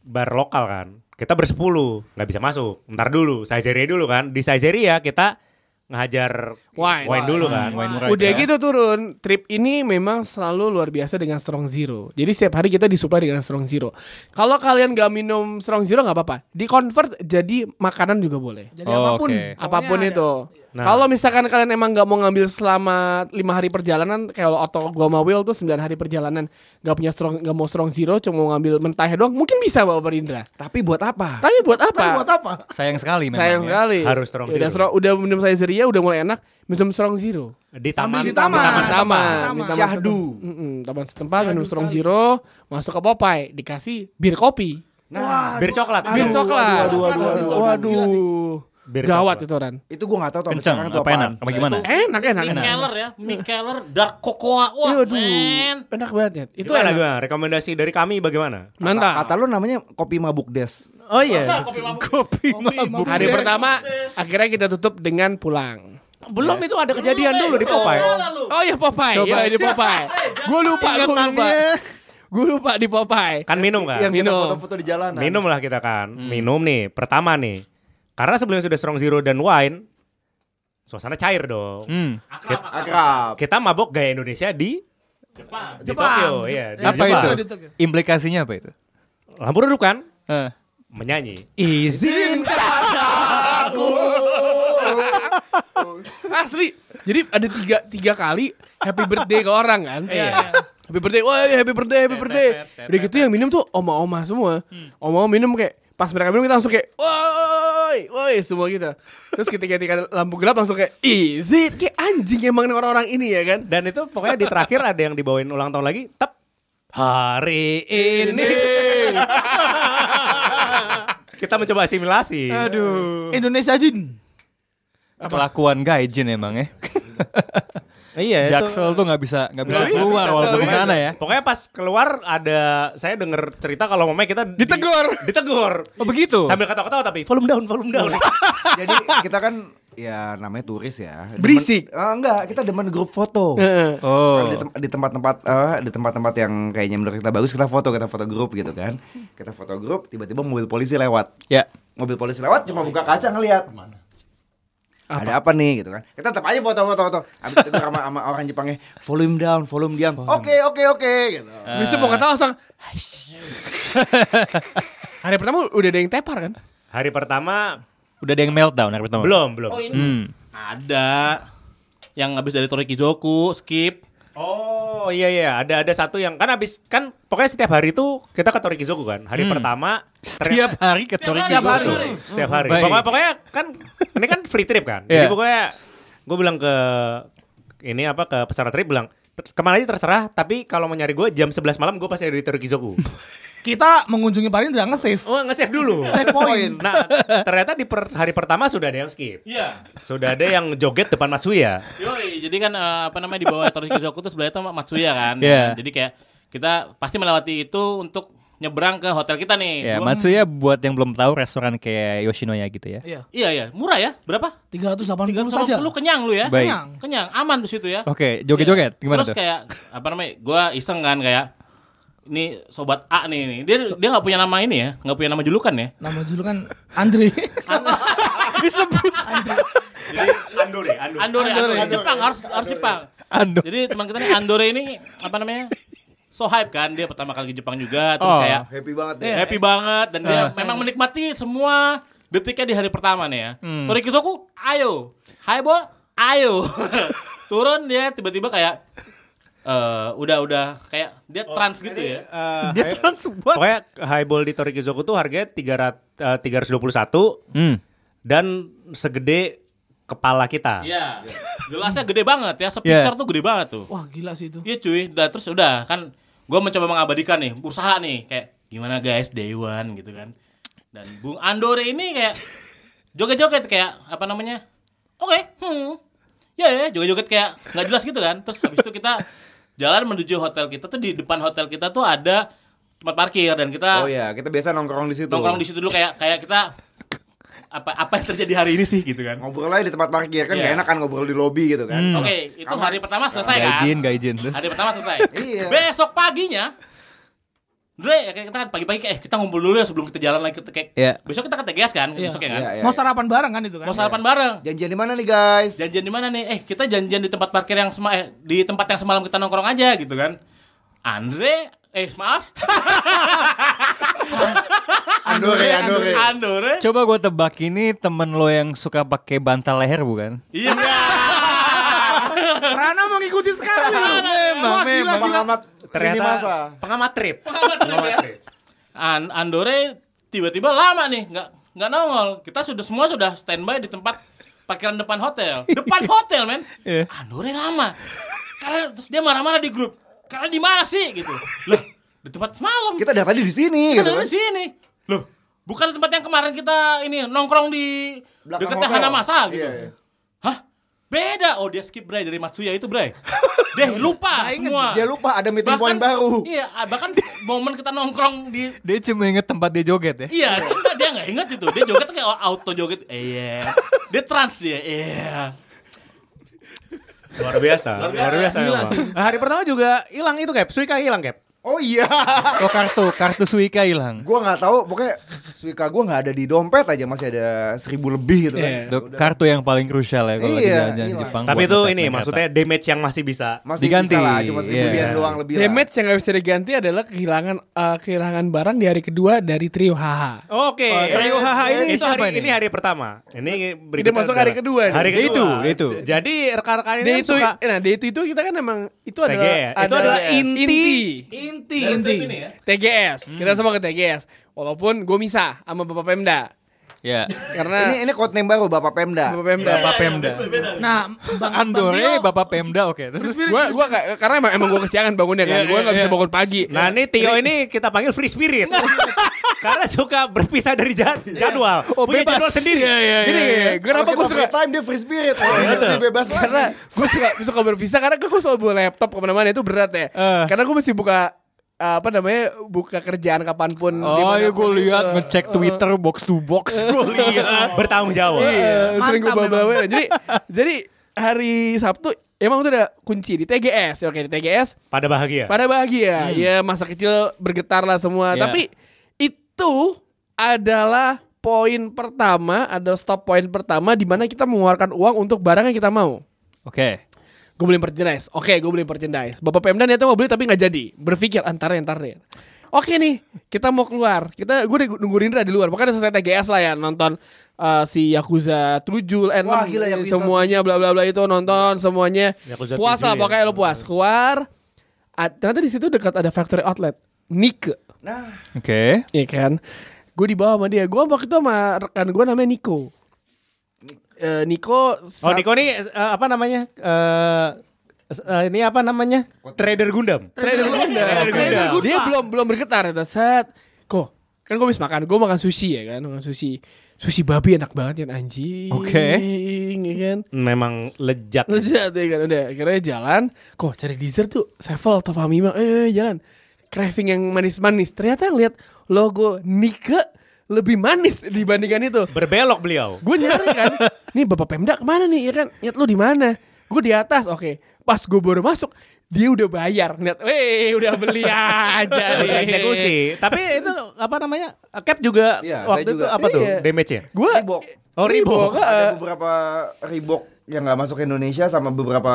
Speaker 2: bar lokal kan. Kita bersepuluh, nggak bisa masuk. Ntar dulu, Saizeria dulu kan. Di Saizeria kita ngajar
Speaker 1: Wine.
Speaker 2: wine dulu kan.
Speaker 3: Wine murah
Speaker 1: Udah
Speaker 3: itu ya.
Speaker 1: gitu turun, trip ini memang selalu luar biasa dengan Strong Zero. Jadi setiap hari kita disuplai dengan Strong Zero. Kalau kalian gak minum Strong Zero nggak apa-apa, di-convert jadi makanan juga boleh.
Speaker 6: Jadi
Speaker 3: Oh,
Speaker 6: apapun.
Speaker 3: oke.
Speaker 6: pokoknya
Speaker 1: Apapun
Speaker 6: ada.
Speaker 1: itu.
Speaker 2: Nah.
Speaker 1: Kalau misalkan kalian emang nggak mau ngambil selama lima hari perjalanan, kayak otot gua sama Will tuh 9 hari perjalanan nggak punya strong nggak mau strong zero, cuma mau ngambil mentahnya doang, mungkin bisa bawa Perindra.
Speaker 5: Tapi buat apa?
Speaker 1: Tapi buat apa?
Speaker 6: Tapi buat apa?
Speaker 3: Sayang sekali memang.
Speaker 1: Sayang
Speaker 3: ya.
Speaker 1: sekali.
Speaker 2: Harus strong
Speaker 1: Ya udah
Speaker 2: zero.
Speaker 1: strong- udah minum saya zeria, udah mulai enak, minum strong zero.
Speaker 2: Di taman,
Speaker 6: di taman.
Speaker 2: Di taman.
Speaker 1: Taman, taman,
Speaker 6: Taman.
Speaker 1: taman
Speaker 5: Syahdu.
Speaker 1: setempat. Mm-mm, taman setempat minum strong zero, masuk ke Popeye, dikasih bir kopi.
Speaker 5: Nah,
Speaker 2: Bir coklat.
Speaker 1: Bir
Speaker 5: Aduh,
Speaker 1: coklat.
Speaker 5: aduh, aduh, aduh, aduh.
Speaker 1: Waduh.
Speaker 2: Bir
Speaker 1: Gawat
Speaker 2: coklat.
Speaker 1: itu Ran.
Speaker 5: itu gue gak tahu tuh sampai
Speaker 3: Kenceng,
Speaker 5: sekarang itu
Speaker 3: apa
Speaker 5: apaan.
Speaker 3: enak? Apa gimana?
Speaker 1: Enak, Iya, enak,
Speaker 4: Mick
Speaker 1: enak.
Speaker 4: Keller ya, Mick Keller, Dark Cocoa, wah
Speaker 1: Iya, aduh.
Speaker 4: men.
Speaker 1: Enak banget, Nyet. Itu
Speaker 2: Itu gimana,
Speaker 1: enak.
Speaker 2: gimana? Rekomendasi dari kami bagaimana?
Speaker 1: Mantap.
Speaker 5: Kata lu namanya kopi mabuk des.
Speaker 2: Oh iya.
Speaker 4: Kopi mabuk.
Speaker 3: Kopi mabuk.
Speaker 1: Hari pertama akhirnya kita tutup dengan pulang.
Speaker 2: Belum itu ada kejadian dulu di Popeye.
Speaker 1: Oh iya Popeye,
Speaker 5: Coba.
Speaker 1: iya di Popeye. Gue lupa, gue lupa. Gue lupa di Popeye.
Speaker 2: Kan minum kan?
Speaker 5: Yang
Speaker 1: iya.
Speaker 5: kita
Speaker 1: Minum.
Speaker 5: foto-foto di jalanan.
Speaker 2: Minum lah kita kan. Minum nih, pertama nih. Karena sebelumnya sudah strong zero dan wine, suasana cair dong.
Speaker 3: Hmm.
Speaker 5: Akrab.
Speaker 2: Kita mabok gaya Indonesia di
Speaker 4: Jepang.
Speaker 2: di
Speaker 6: Jepang.
Speaker 2: Tokyo,
Speaker 6: Jep-
Speaker 2: iya, di
Speaker 3: Apa
Speaker 2: Jepang.
Speaker 3: itu?
Speaker 6: Di Tokyo.
Speaker 3: Implikasinya apa itu?
Speaker 2: Lampu redup kan?
Speaker 3: Eh.
Speaker 2: Menyanyi.
Speaker 3: Izinkan.
Speaker 1: Asli. Jadi ada tiga tiga kali happy birthday ke orang kan.
Speaker 2: Iya.
Speaker 1: Happy birthday, wah happy birthday, happy birthday. Udah gitu yang minum tuh oma-oma semua. Oma-oma minum kayak pas mereka minum kita langsung kayak woi, woi semua gitu. Terus ketika ketika lampu gelap langsung kayak easy kayak anjing emang nih orang-orang ini ya kan.
Speaker 2: Dan itu pokoknya di terakhir ada yang dibawain ulang tahun lagi, tep. Hari
Speaker 3: (laughs)
Speaker 2: ini kita mencoba asimilasi. Aduh.
Speaker 6: Indonesia Jin.
Speaker 3: Kelakuan gaijin emang ya.
Speaker 2: Iya, itu- Iya,
Speaker 3: Jaksel tuh nggak bisa nggak bisa
Speaker 1: Nggak bisa,
Speaker 3: keluar
Speaker 1: nggak
Speaker 3: walaupun di
Speaker 1: bisa.
Speaker 3: sana ya.
Speaker 2: Nah, Pokoknya pas keluar ada saya denger cerita kalau mamanya kita di-
Speaker 1: Ditegur.
Speaker 2: ditegur.
Speaker 3: Oh begitu.
Speaker 2: Sambil ketawa-ketawa tapi volume down, volume down.
Speaker 5: Jadi kita kan ya namanya turis ya. Demen-
Speaker 1: Berisik.
Speaker 5: Ah, enggak, kita demen grup foto.
Speaker 1: Heeh.
Speaker 5: Kalau gitu.
Speaker 3: Oh.
Speaker 5: di, tem- di tempat-tempat eh, di tempat-tempat yang kayaknya menurut kita bagus kita foto kita foto grup gitu kan kita foto grup tiba-tiba mobil polisi lewat
Speaker 3: Ya.
Speaker 5: mobil polisi lewat cuma buka kaca ngelihat ada apa nih gitu kan kita tetap aja foto-foto foto habis itu sama, sama orang Jepangnya volume down volume down oke oke oke gitu
Speaker 1: Mister mau kata langsung Hari pertama udah ada yang tepar kan?
Speaker 2: Hari pertama
Speaker 3: Udah ada yang meltdown hari pertama.
Speaker 2: belum, belum.
Speaker 4: Oh, ini
Speaker 3: Hmm.
Speaker 4: ada yang habis dari Toriki Joku, skip.
Speaker 2: Oh iya iya ada ada satu yang kan habis kan pokoknya setiap hari itu kita ke Torikizoku kan hari pertama
Speaker 3: Setiap
Speaker 2: ternyata-
Speaker 3: hari ke Toriki. gitu.
Speaker 2: setiap hari
Speaker 4: hari.
Speaker 2: setiap hari
Speaker 3: Baik.
Speaker 2: pokoknya, pokoknya kan ini kan free trip kan jadi
Speaker 3: Iya.
Speaker 2: pokoknya gue bilang ke ini apa ke peserta trip bilang "Ter- kemana aja terserah tapi kalau mau nyari gue jam 11 malam gue pasti ada di Torikizoku
Speaker 6: Kita mengunjungi Parindra nge-save.
Speaker 2: (laughs) oh nge-save dulu
Speaker 6: Save point.
Speaker 2: nah ternyata di per- hari pertama sudah ada yang skip
Speaker 4: Iya.
Speaker 2: sudah ada yang joget depan Matsuya
Speaker 4: Yoi, jadi kan eh, apa namanya di bawah Toriki Joku itu sebelahnya itu Matsuya kan.
Speaker 3: Iya.
Speaker 4: Jadi kayak kita pasti melewati itu untuk nyebrang ke hotel kita nih.
Speaker 3: Ya,
Speaker 4: Gua-
Speaker 3: Matsuya buat yang belum tahu restoran kayak Yoshinoya gitu ya.
Speaker 6: Iya.
Speaker 4: Iya iya, murah ya? Berapa? 380
Speaker 6: 380 saja.
Speaker 4: kenyang lu ya.
Speaker 3: Baik.
Speaker 6: Kenyang.
Speaker 4: Kenyang, aman tuh situ ya.
Speaker 3: Oke, joget-joget gimana
Speaker 4: Terus
Speaker 3: tuh?
Speaker 4: kayak apa namanya? Gua iseng kan kayak ini sobat A nih, nih. dia dia nggak punya nama ini ya, nggak punya nama julukan ya.
Speaker 6: Nama julukan Andre. Disebut.
Speaker 2: jadi Andore Andore
Speaker 4: Andore, Andore,
Speaker 6: Andore.
Speaker 4: ya, Jepang harus harus Jepang.
Speaker 3: Aduh.
Speaker 4: Jadi teman kita nih Andore ini apa namanya? So hype kan dia pertama kali ke Jepang juga terus
Speaker 3: Oh. Ah,
Speaker 4: kayak
Speaker 5: happy banget deh
Speaker 4: happy banget dan dia memang menikmati semua detiknya di hari pertama nih ya.
Speaker 3: Hmm.
Speaker 4: Torikizoku, ayo. Hai bo, ayo. (laughs) Turun dia tiba-tiba kayak eh udah udah kayak dia trans gitu ya.
Speaker 2: dia trans Pokoknya highball di Torikizoku tuh harganya 300, eh, 321
Speaker 3: Hmm.
Speaker 2: dan segede kepala kita.
Speaker 4: Iya. Gelasnya gede banget ya, sepicture tuh gede banget tuh.
Speaker 6: (laughs) Wah, gila sih itu.
Speaker 4: Iya cuy, udah terus udah kan gue mencoba mengabadikan nih, usaha nih kayak gimana guys day one gitu kan. Dan Bung Andore ini kayak joget-joget kayak apa namanya? Oke, hmm. Ya ya, joget-joget kayak nggak jelas gitu kan. Terus habis itu kita jalan menuju hotel kita tuh di depan hotel kita tuh ada tempat parkir dan kita
Speaker 5: iya, oh ya kita biasa nongkrong di situ
Speaker 4: nongkrong di situ dulu kayak kayak kita apa apa yang terjadi hari ini sih gitu kan.
Speaker 5: Ngobrol aja di tempat parkir kan
Speaker 4: Iya.
Speaker 5: nggak enak kan ngobrol di lobby gitu kan.
Speaker 4: Oke, itu hari pertama selesai
Speaker 3: Gak
Speaker 4: kan?
Speaker 3: izin, gak izin. Terus
Speaker 4: Hari pertama selesai.
Speaker 5: Iya.
Speaker 4: Besok paginya Dre, kayak kita kan pagi-pagi kayak eh, kita ngumpul dulu ya sebelum kita jalan lagi ke kayak
Speaker 3: Iya.
Speaker 4: besok kita ke TGS kan
Speaker 6: Iya.
Speaker 4: besok ya kan.
Speaker 5: Iya, iya,
Speaker 6: Mau
Speaker 5: iya.
Speaker 6: sarapan bareng kan itu kan?
Speaker 4: Mau sarapan bareng.
Speaker 5: Oh, Janjian di mana nih guys?
Speaker 4: Janjian di mana nih? Eh, kita janjian di tempat parkir yang sema eh, di tempat yang semalam kita nongkrong aja gitu kan. Andre, eh maaf,
Speaker 5: Andore, Andore.
Speaker 4: Andore.
Speaker 3: Coba gue tebak ini temen lo yang suka pakai bantal leher bukan?
Speaker 4: Iya.
Speaker 5: (laughs)
Speaker 1: Rana mengikuti sekali. Wah, gila, gila.
Speaker 5: Pengamat lini masa.
Speaker 2: ternyata pengamat trip. Pengamat trip.
Speaker 4: An Andore tiba-tiba lama nih, nggak nggak nongol. Kita sudah semua sudah standby di tempat parkiran depan hotel. Depan hotel, men.
Speaker 3: Iya.
Speaker 4: Andore lama. Kalian terus dia marah-marah di grup. Kalian di mana sih gitu. Lah, di tempat semalam.
Speaker 5: Kita dari tadi di sini gitu
Speaker 4: kita
Speaker 5: kan.
Speaker 4: di sini. Loh, bukan tempat yang kemarin kita ini nongkrong di
Speaker 5: Belakang
Speaker 4: dekat
Speaker 5: hotel.
Speaker 4: Tahana Masa gitu.
Speaker 5: Iya, iya.
Speaker 4: Hah? Beda. Oh, dia skip Bray dari Matsuya itu,
Speaker 5: (laughs)
Speaker 4: Bray. Deh, lupa semua.
Speaker 5: Dia lupa ada meeting point baru.
Speaker 4: Iya, bahkan momen kita nongkrong di
Speaker 3: Dia cuma inget tempat dia joget ya?
Speaker 4: Iya, enggak dia enggak inget itu. Dia joget tuh kayak auto joget. Iya. Dia trans dia. Iya.
Speaker 2: Luar biasa.
Speaker 4: Luar biasa.
Speaker 2: Luar biasa.
Speaker 6: Gila
Speaker 2: memang.
Speaker 6: sih.
Speaker 2: Nah, hari pertama juga hilang itu Cap. Suika hilang Cap.
Speaker 5: Oh iya.
Speaker 3: Oh kartu, kartu Suika hilang.
Speaker 5: gua nggak tahu pokoknya Suika gua nggak ada di dompet aja masih ada seribu lebih gitu kan.
Speaker 1: Iya.
Speaker 3: Dok, kartu yang paling krusial ya kalau
Speaker 5: Iya,
Speaker 3: lagi jalan-jalan di
Speaker 5: hilang.
Speaker 3: Jepang.
Speaker 2: Tapi
Speaker 3: buat
Speaker 2: itu
Speaker 3: ngetek
Speaker 2: ini
Speaker 3: naik
Speaker 2: maksudnya damage yang masih bisa.
Speaker 5: Masih
Speaker 3: Diganti,
Speaker 5: bisa lah cuma seribu
Speaker 3: iya.
Speaker 5: ribuan doang lebih lah.
Speaker 1: Damage yang gak bisa diganti adalah kehilangan eh, kehilangan barang di hari kedua dari trio HH.
Speaker 2: Oke.
Speaker 3: trio HH ini
Speaker 2: itu
Speaker 3: siapa
Speaker 2: hari
Speaker 3: ini?
Speaker 2: ini hari pertama. Ini
Speaker 1: Ini masuk hari kedua nih.
Speaker 2: Hari
Speaker 3: Dia
Speaker 2: kedua.
Speaker 3: itu, dia itu.
Speaker 2: Jadi rekan-rekan ini
Speaker 3: kan
Speaker 2: kan
Speaker 1: Dia itu,
Speaker 2: suka
Speaker 1: nah dia itu itu kita kan emang itu
Speaker 2: TGS.
Speaker 1: adalah
Speaker 2: Itu adalah inti.
Speaker 6: Inti,
Speaker 4: Dari
Speaker 6: inti.
Speaker 4: trip ini ya.
Speaker 1: TGS.
Speaker 3: Hmm.
Speaker 1: Kita semua ke TGS. Walaupun gue misah sama Bapak Pemda
Speaker 3: kereta. Ya.
Speaker 1: karena
Speaker 5: Ini Iya. ini code name baru Bapak Pemda.
Speaker 1: Bapak Pemda.
Speaker 3: Bapak Pemda.
Speaker 6: Nah, Bang
Speaker 3: Andore,
Speaker 6: Bang Tio-
Speaker 3: eh, Bapak Pemda oke. Terus
Speaker 1: Gua gua nggak- karena emang emang gue kesiangan bangunnya kan.
Speaker 3: Iya,
Speaker 1: Gue
Speaker 3: iya,
Speaker 1: nggak bisa
Speaker 3: iya.
Speaker 1: bangun pagi.
Speaker 2: Nah ini Tio ini kita panggil free spirit Karena suka berpisah dari ja- jadwal
Speaker 3: Oh,
Speaker 2: Punya
Speaker 3: bebas.
Speaker 2: jadwal sendiri
Speaker 3: Iya, iya,
Speaker 2: Gini,
Speaker 1: kenapa
Speaker 5: Kalau
Speaker 1: gue
Speaker 5: kita
Speaker 1: suka
Speaker 5: free time dia free spirit. Oh, dia bebas
Speaker 1: karena
Speaker 5: lagi.
Speaker 1: gue suka suka berpisah karena gue selalu bawa laptop kemana-mana itu berat ya.
Speaker 3: Eh.
Speaker 1: Karena gue mesti buka eh, apa namanya buka kerjaan kapanpun.
Speaker 3: Oh,
Speaker 1: dimanapun.
Speaker 3: ya gue lihat
Speaker 1: Eh,
Speaker 3: ngecek Twitter box to box.
Speaker 2: Eh.
Speaker 3: Gue lihat.
Speaker 2: Iya. Bertanggung jawab
Speaker 1: eh, sering gue bawa
Speaker 6: Mantap memang.
Speaker 1: bawa. Jadi jadi hari Sabtu emang itu ada kunci di TGS. Ya, Oke di TGS
Speaker 2: Pada bahagia
Speaker 1: pada bahagia. Ya masa kecil bergetar lah semua.
Speaker 3: Iya.
Speaker 1: Tapi itu adalah poin pertama, ada stop poin pertama di mana kita mengeluarkan uang untuk barang yang kita mau.
Speaker 3: Oke.
Speaker 1: Gue beli merchandise. Oke, gue beli merchandise. Bapak Pemda niatnya mau beli tapi nggak jadi. Berpikir antara ntar deh. Oke nih, kita mau keluar. Kita gue udah nunggu Rindra di luar. Makanya selesai TGS lah ya nonton eh, si Yakuza 7, eh,
Speaker 5: Wah,
Speaker 1: 6,
Speaker 5: gila, Yakuza.
Speaker 1: semuanya bla bla bla itu nonton semuanya.
Speaker 2: Yakuza
Speaker 1: puas
Speaker 2: 7
Speaker 1: lah
Speaker 2: ya.
Speaker 1: pokoknya lo puas. Keluar. Ah, ternyata di situ dekat ada factory outlet. Nike,
Speaker 5: Nah,
Speaker 3: Oke.
Speaker 1: ya kan? Gue dibawa sama dia. Gue waktu itu sama rekan gue namanya Niko. Eh, Niko
Speaker 2: Oh
Speaker 1: saat-
Speaker 2: Niko ini eh, apa namanya Eh, eh, Ini apa namanya Trader Gundam
Speaker 1: Trader Gunda.
Speaker 2: Trader Gunda.
Speaker 1: Trader Gunda. Dia belum belum bergetar itu. Set. Kok kan gue habis makan, gue makan sushi ya kan, makan sushi. Sushi babi enak banget ya anjing.
Speaker 3: Oke.
Speaker 1: ya kan.
Speaker 2: Memang lejat
Speaker 1: Lezat ya kan udah akhirnya jalan. Kok cari dessert tuh Sevel atau Famima. Eh jalan. Craving yang manis-manis. Ternyata lihat logo Nike lebih manis dibandingkan itu.
Speaker 2: Berbelok beliau
Speaker 1: Gue nyari kan, nih bapak Pemda kemana nih? Ya kan, niat lu di mana? Gue di atas, oke. Pas gue baru masuk, dia udah bayar. Niat, weh udah beli
Speaker 5: Iya,
Speaker 1: aja.
Speaker 2: Udah eksekusi
Speaker 5: (laughs)
Speaker 2: Tapi itu apa namanya Cap juga
Speaker 5: Iya, saya
Speaker 2: waktu itu
Speaker 5: juga.
Speaker 2: apa tuh
Speaker 1: Iya.
Speaker 2: damage-nya
Speaker 1: Gue
Speaker 5: Reebok.
Speaker 2: Oh, Reebok.
Speaker 5: ada beberapa Reebok yang nggak masuk ke Indonesia sama beberapa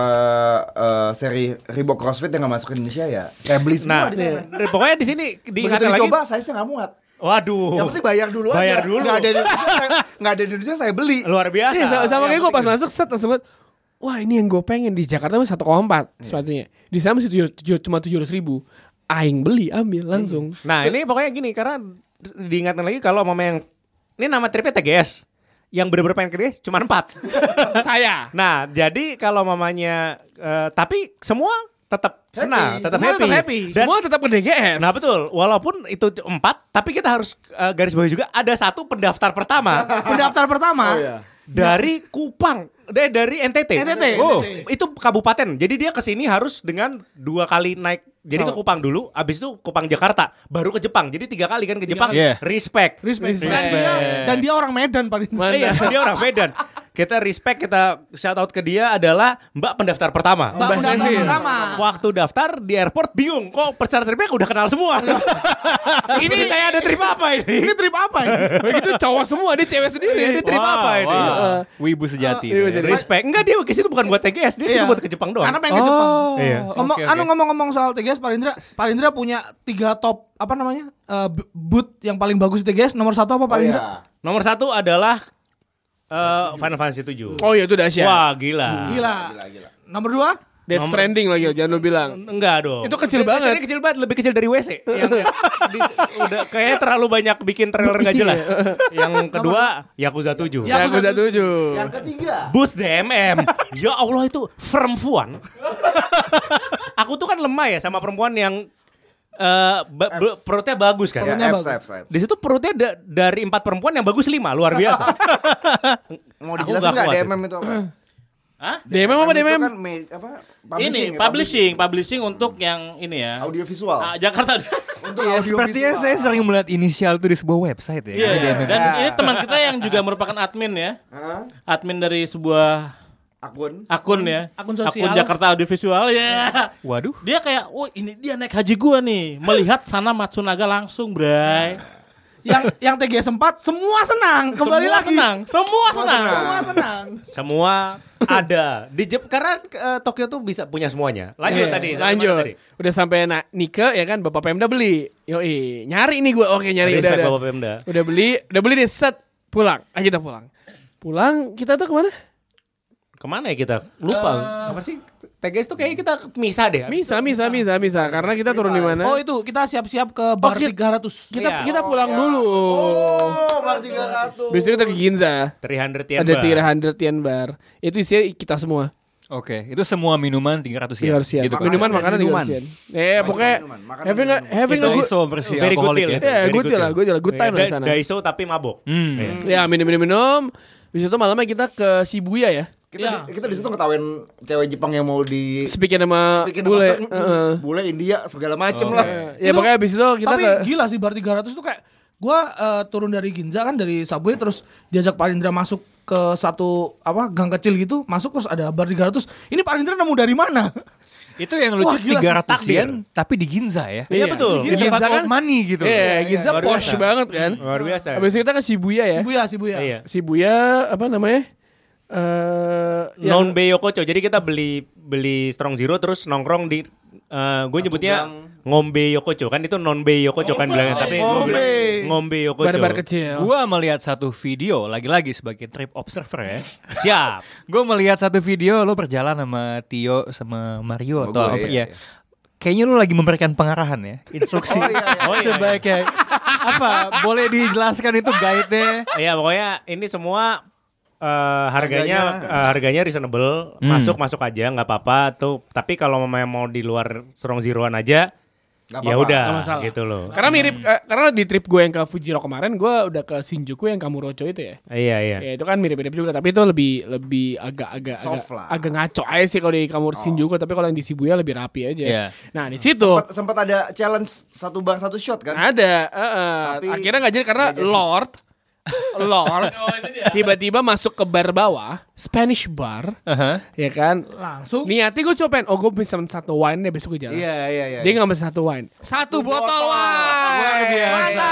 Speaker 5: eh, seri Reebok CrossFit yang nggak masuk ke Indonesia ya. Kayak beli
Speaker 2: Nah
Speaker 5: semua di sana.
Speaker 2: pokoknya di sini
Speaker 5: Begitu
Speaker 2: diingatkan lagi
Speaker 5: dicoba saya nggak muat.
Speaker 2: Waduh
Speaker 5: Yang penting bayar dulu
Speaker 2: Bayar
Speaker 5: aja.
Speaker 2: dulu.
Speaker 5: Nggak ada di Indonesia, saya- nggak ada di Indonesia saya beli.
Speaker 2: Luar biasa
Speaker 1: Iya, sama, sama kayak gue pas masuk set langsung banget, Wah ini yang gue pengen di Jakarta mah 1,4
Speaker 2: Iya.
Speaker 1: sepatunya. Di sana masih tujuh- tujuh- cuma 700 ribu. Aing beli, ambil langsung.
Speaker 2: Nah ini pokoknya gini karena diingatkan lagi kalau mama yang ini nama tripnya TGS yang bener-bener pengen ke TGS cuma
Speaker 5: (laughs)
Speaker 2: empat.
Speaker 1: Saya.
Speaker 2: nah jadi kalau mamanya eh, tapi semua tetap senang, tetap
Speaker 6: Semua
Speaker 2: happy.
Speaker 6: tetap happy.
Speaker 2: Dan-
Speaker 1: Semua tetap ke DGS.
Speaker 2: nah betul, walaupun itu c- empat, tapi kita harus eh, garis bawah juga ada satu pendaftar pertama.
Speaker 6: (laughs) pendaftar pertama
Speaker 5: Oh, iya.
Speaker 2: dari Kupang, eh dari NTT.
Speaker 6: NTT,
Speaker 2: Oh,
Speaker 6: NTT.
Speaker 2: itu kabupaten. Jadi dia ke sini harus dengan dua kali naik. Jadi ke Kupang dulu, abis itu Kupang Jakarta, baru ke Jepang. Jadi tiga kali kan ke Jepang.
Speaker 3: kali. Iya.
Speaker 2: Respect.
Speaker 6: Respect.
Speaker 2: Respect.
Speaker 6: Dan, dia, dan dia orang Medan paling. (laughs)
Speaker 2: Iya, dia orang Medan. Kita respect, kita shout out ke dia adalah Mbak pendaftar pertama.
Speaker 6: Mbak Undang
Speaker 1: Cecil.
Speaker 6: pertama.
Speaker 2: Waktu daftar di airport bingung kok peserta tripnya udah kenal semua. ini saya ada trip apa ini?
Speaker 1: Ini trip apa ini? Begitu cowok semua, dia cewek sendiri.
Speaker 2: Ini trip apa ini?
Speaker 1: Heeh.
Speaker 3: Wibu sejati.
Speaker 2: Oh,
Speaker 1: Iya, jadi-
Speaker 2: Respect. Enggak dia ke situ bukan buat TGS, dia ke situ
Speaker 6: Iya.
Speaker 2: buat ke Jepang doang.
Speaker 6: Karena
Speaker 3: Oh,
Speaker 6: pengen ke Jepang.
Speaker 2: Iya.
Speaker 6: Ngomong, anu ngomong-ngomong soal TGS, Pak Indra, Pak Indra punya tiga top apa namanya eh, b- boot yang paling bagus di TGS. Nomor satu apa Pak
Speaker 5: Oh, iya.
Speaker 6: Indra?
Speaker 2: Nomor satu adalah eh, Final Fantasy 7.
Speaker 1: Oh iya itu dahsyat.
Speaker 2: Wah, gila.
Speaker 6: Gila. Nomor dua?
Speaker 1: Death Stranding lagi, jangan lu bilang.
Speaker 2: Enggak dong.
Speaker 1: Itu kecil
Speaker 2: Udah,
Speaker 1: banget.
Speaker 2: kecilnya kecil banget, lebih kecil dari WC. Yang di- udah kayaknya terlalu banyak bikin trailer nggak jelas. Yang kedua Yakuza 7.
Speaker 1: Ya, aku
Speaker 6: Yakuza
Speaker 1: satu tujuh.
Speaker 5: Yang ketiga.
Speaker 2: Booth DMM. (laughs) ya Allah itu perempuan. (laughs) Aku tuh kan lemah ya sama perempuan yang eh, ba- ba- perutnya bagus kan.
Speaker 5: Ya,
Speaker 6: Perutnya
Speaker 5: apps,
Speaker 6: bagus.
Speaker 5: apps, apps.
Speaker 2: Di situ perutnya da- dari empat perempuan yang bagus lima luar biasa.
Speaker 1: (laughs)
Speaker 5: Mau
Speaker 2: Aku
Speaker 5: dijelasin
Speaker 2: nggak
Speaker 5: nggak
Speaker 2: kuat.
Speaker 5: DMM itu apa?
Speaker 4: Hah?
Speaker 1: DMM apa
Speaker 5: Itu
Speaker 1: DMM?
Speaker 5: kan me- apa?
Speaker 4: ini
Speaker 5: ya,
Speaker 4: publishing, publishing untuk yang ini ya.
Speaker 5: Audio visual.
Speaker 4: Ah, Jakarta.
Speaker 5: Untuk
Speaker 3: Ya,
Speaker 5: audio
Speaker 3: sepertinya
Speaker 5: visual.
Speaker 3: saya sering melihat inisial itu di sebuah website ya.
Speaker 4: (laughs) Iya.
Speaker 3: Jadi dia-
Speaker 4: Dan ini teman kita yang juga merupakan admin ya.
Speaker 5: Hah?
Speaker 4: Admin dari sebuah
Speaker 5: Akun.
Speaker 4: akun ya.
Speaker 6: Akun
Speaker 4: Akun
Speaker 6: sosial.
Speaker 4: Jakarta Audiovisual ya.
Speaker 3: Waduh.
Speaker 4: Dia kayak, "Wah, ini dia naik haji gua nih. Melihat sana Matsunaga langsung, Bray."
Speaker 6: (laughs) yang yang TGS sempat semua senang kembali
Speaker 4: Semua
Speaker 6: lagi
Speaker 4: senang. Semua senang.
Speaker 6: semua senang
Speaker 2: Semua ada di Jep karena eh, Tokyo tuh bisa punya semuanya. Lanjut tadi, sampai mana
Speaker 1: Iya, lanjut.
Speaker 2: tadi?
Speaker 1: Udah sampai na- Nike ya kan Bapak Pemda beli. Yoi, nyari nih gue. Oke, nyari udah.
Speaker 2: Respect
Speaker 1: udah.
Speaker 2: Bapak Pemda.
Speaker 1: Udah beli, udah beli deh set pulang. Ayo kita pulang. Pulang kita tuh kemana?
Speaker 2: Kemana ya kita? Lupa.
Speaker 1: Eh,
Speaker 2: Apa sih? TGS tuh kayaknya kita misah deh.
Speaker 1: Misa, misa, misa, misa. Karena kita turun di mana?
Speaker 6: (laughs) oh itu Oh, kita siap-siap ke bar
Speaker 1: Oke.
Speaker 6: 300
Speaker 1: kita
Speaker 2: iya.
Speaker 1: kita pulang dulu.
Speaker 5: Oh, bar 300.
Speaker 1: Besok kita ke Ginza.
Speaker 2: 300 yen
Speaker 1: Ada
Speaker 2: bar.
Speaker 1: 300 yen bar. Itu isinya kita semua.
Speaker 3: Oke, itu semua minuman
Speaker 2: Iya.
Speaker 3: 300 yen.
Speaker 1: 300 yen.
Speaker 3: Gitu kan.
Speaker 1: ya. Minuman makanan
Speaker 5: Makanan
Speaker 1: 300 yen. Eh, pokoknya
Speaker 5: minuman, makanan
Speaker 1: having a,
Speaker 5: minuman.
Speaker 1: having
Speaker 3: Itu
Speaker 1: a good
Speaker 3: ISO versi
Speaker 2: Very good
Speaker 3: alkoholik
Speaker 2: deal.
Speaker 3: ya.
Speaker 2: itu.
Speaker 1: Ya,
Speaker 2: Very
Speaker 1: good
Speaker 2: good
Speaker 1: deal lah,
Speaker 2: deal. Iya,
Speaker 1: good deal lah, good time lah
Speaker 2: Da-
Speaker 1: di sana.
Speaker 2: Daiso tapi mabok.
Speaker 3: Hmm.
Speaker 2: Iya.
Speaker 1: Ya minum-minum-minum. Habis itu malamnya kita ke Shibuya ya.
Speaker 5: Kita
Speaker 6: Iya.
Speaker 5: di, kita di situ ngetawain cewek Jepang yang mau di
Speaker 1: Speaking sama
Speaker 5: bikin
Speaker 1: bule. eh,
Speaker 5: apa-
Speaker 1: Heeh.
Speaker 5: bule India segala macem lah.
Speaker 1: Ya
Speaker 6: Iya, Itu-
Speaker 1: pokoknya habis itu kita
Speaker 6: tapi
Speaker 1: ke
Speaker 6: gila sih bar 300 tuh kayak gua eh, turun dari Ginza kan dari subway terus diajak Pak Indra masuk ke satu apa gang kecil gitu masuk terus ada bar 300 ini Pak Indra nemu dari (laughs) mana
Speaker 3: Itu yang lucu
Speaker 6: Wah,
Speaker 3: 300
Speaker 6: gila,
Speaker 2: takdir.
Speaker 3: yen tapi di Ginza ya.
Speaker 2: Iya, betul.
Speaker 3: Di tempat
Speaker 1: Ginza kan-
Speaker 3: old money gitu.
Speaker 1: Iya, Ginza
Speaker 3: Luar
Speaker 1: posh
Speaker 3: biasa.
Speaker 1: banget kan.
Speaker 2: Luar biasa.
Speaker 1: Habis itu kita ke Shibuya ya.
Speaker 6: Shibuya Shibuya
Speaker 2: Iya.
Speaker 1: Shibuya apa namanya? Eh yang-
Speaker 2: Non Beyokocho. Jadi kita beli beli Strong Zero terus nongkrong di eh gue nyebutnya ngombe Yokocho kan itu non Beyokocho kan bilangnya tapi ngombe, ngombe Yokocho.
Speaker 1: bar-bar kecil.
Speaker 3: Gua melihat satu video lagi-lagi sebagai trip observer ya.
Speaker 2: Siap.
Speaker 3: Gue melihat satu video lo berjalan sama Tio sama Mario atau
Speaker 5: gua,
Speaker 3: apa
Speaker 5: iya,
Speaker 3: ya. Kayaknya lu lagi memberikan pengarahan ya, instruksi.
Speaker 2: Oh, iya, iya.
Speaker 3: Sebaiknya apa? Boleh dijelaskan itu guide-nya?
Speaker 2: Iya pokoknya ini semua eh, harganya
Speaker 5: Harganya.
Speaker 2: eh, harganya reasonable
Speaker 3: Hmm.
Speaker 2: masuk masuk aja nggak apa-apa tuh tapi kalau memang mau di luar strong zeroan aja
Speaker 5: Nggak
Speaker 2: ya
Speaker 5: apa-apa.
Speaker 2: udah
Speaker 1: Nggak masalah.
Speaker 2: gitu loh
Speaker 1: Karena mirip eh, karena di trip gue yang ke Fujiro kemarin gue udah ke Shinjuku yang Kamurocho itu ya.
Speaker 2: iya iya
Speaker 1: Ya itu kan mirip-mirip juga tapi itu lebih lebih agak-agak agak,
Speaker 5: Soft lah.
Speaker 1: agak ngaco aja sih kalau di Kamur Shinjuku tapi kalau yang di Shibuya lebih rapi aja.
Speaker 3: Iya.
Speaker 1: Nah, di situ
Speaker 5: Sempat, sempat ada challenge satu bar satu shot kan?
Speaker 1: ada eh,
Speaker 5: Tapi
Speaker 1: akhirnya nggak jadi karena Lord
Speaker 5: (laughs)
Speaker 1: Lord tiba-tiba masuk ke bar bawah Spanish bar
Speaker 3: Aha.
Speaker 1: ya kan
Speaker 6: langsung
Speaker 1: niatnya gue cobain oh gue pesen satu wine deh besok gue jalan
Speaker 5: Iya iya iya.
Speaker 1: dia nggak pesen satu wine satu botol, wine
Speaker 5: Luar biasa.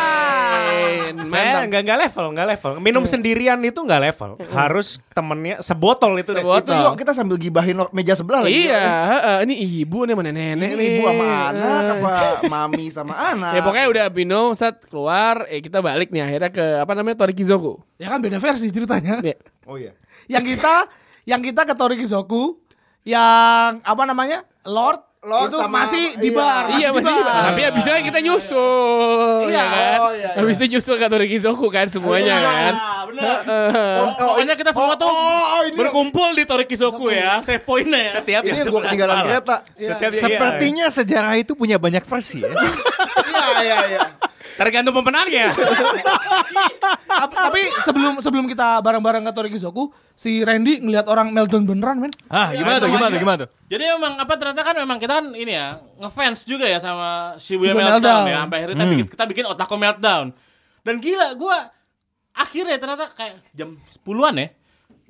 Speaker 1: Mantap.
Speaker 2: saya nggak nggak level nggak level minum sendirian itu nggak level harus temennya sebotol itu deh.
Speaker 1: Sebotol.
Speaker 5: Itu yuk kita sambil gibahin lo- meja sebelah lagi.
Speaker 1: Iya, heeh, ini ibu nih mana nenek
Speaker 5: Ini
Speaker 1: nih.
Speaker 5: ibu sama anak
Speaker 1: Eh.
Speaker 5: apa mami sama anak?
Speaker 1: Ya pokoknya udah minum set keluar, eh kita balik nih akhirnya ke apa namanya Torikizoku.
Speaker 6: ya kan beda versi ceritanya (laughs)
Speaker 1: Ya.
Speaker 5: Oh iya.
Speaker 6: yang kita yang kita ke Torikizoku yang apa namanya Lord
Speaker 5: Lord
Speaker 6: itu
Speaker 5: sama-
Speaker 6: masih di
Speaker 5: iya.
Speaker 6: bar
Speaker 1: Iya masih
Speaker 6: di bar.
Speaker 1: Tapi habis itu kan kita nyusul,
Speaker 6: Iya.
Speaker 1: ya kan?
Speaker 5: Oh, iya, iya.
Speaker 1: Habis itu nyusul ke Torikizoku kan semuanya kan.
Speaker 4: Ah, bener.
Speaker 6: Oh,
Speaker 4: Pokoknya kita semua tuh berkumpul di Torikizoku ya. Save point ya. Setiap
Speaker 5: Ini yang gua ketinggalan kereta.
Speaker 2: setiap
Speaker 3: Sepertinya sejarah itu punya banyak versi ya.
Speaker 5: Iya iya iya.
Speaker 2: Tergantung pemenangnya.
Speaker 6: Ap- tapi sebelum sebelum kita bareng-bareng ke Torikizoku, si Randy ngelihat orang Meldon beneran, men.
Speaker 3: Ah, gimana tuh? Gimana tuh? Gimana tuh?
Speaker 4: Jadi memang apa ternyata kan memang kita kan ini ya ngefans juga ya sama Shibuya Meltdown,
Speaker 6: Shibuya Meltdown.
Speaker 4: ya sampai akhirnya kita
Speaker 3: Hmm.
Speaker 4: bikin, kita bikin Otaku Meltdown. Dan gila gua akhirnya ternyata kayak jam 10-an ya.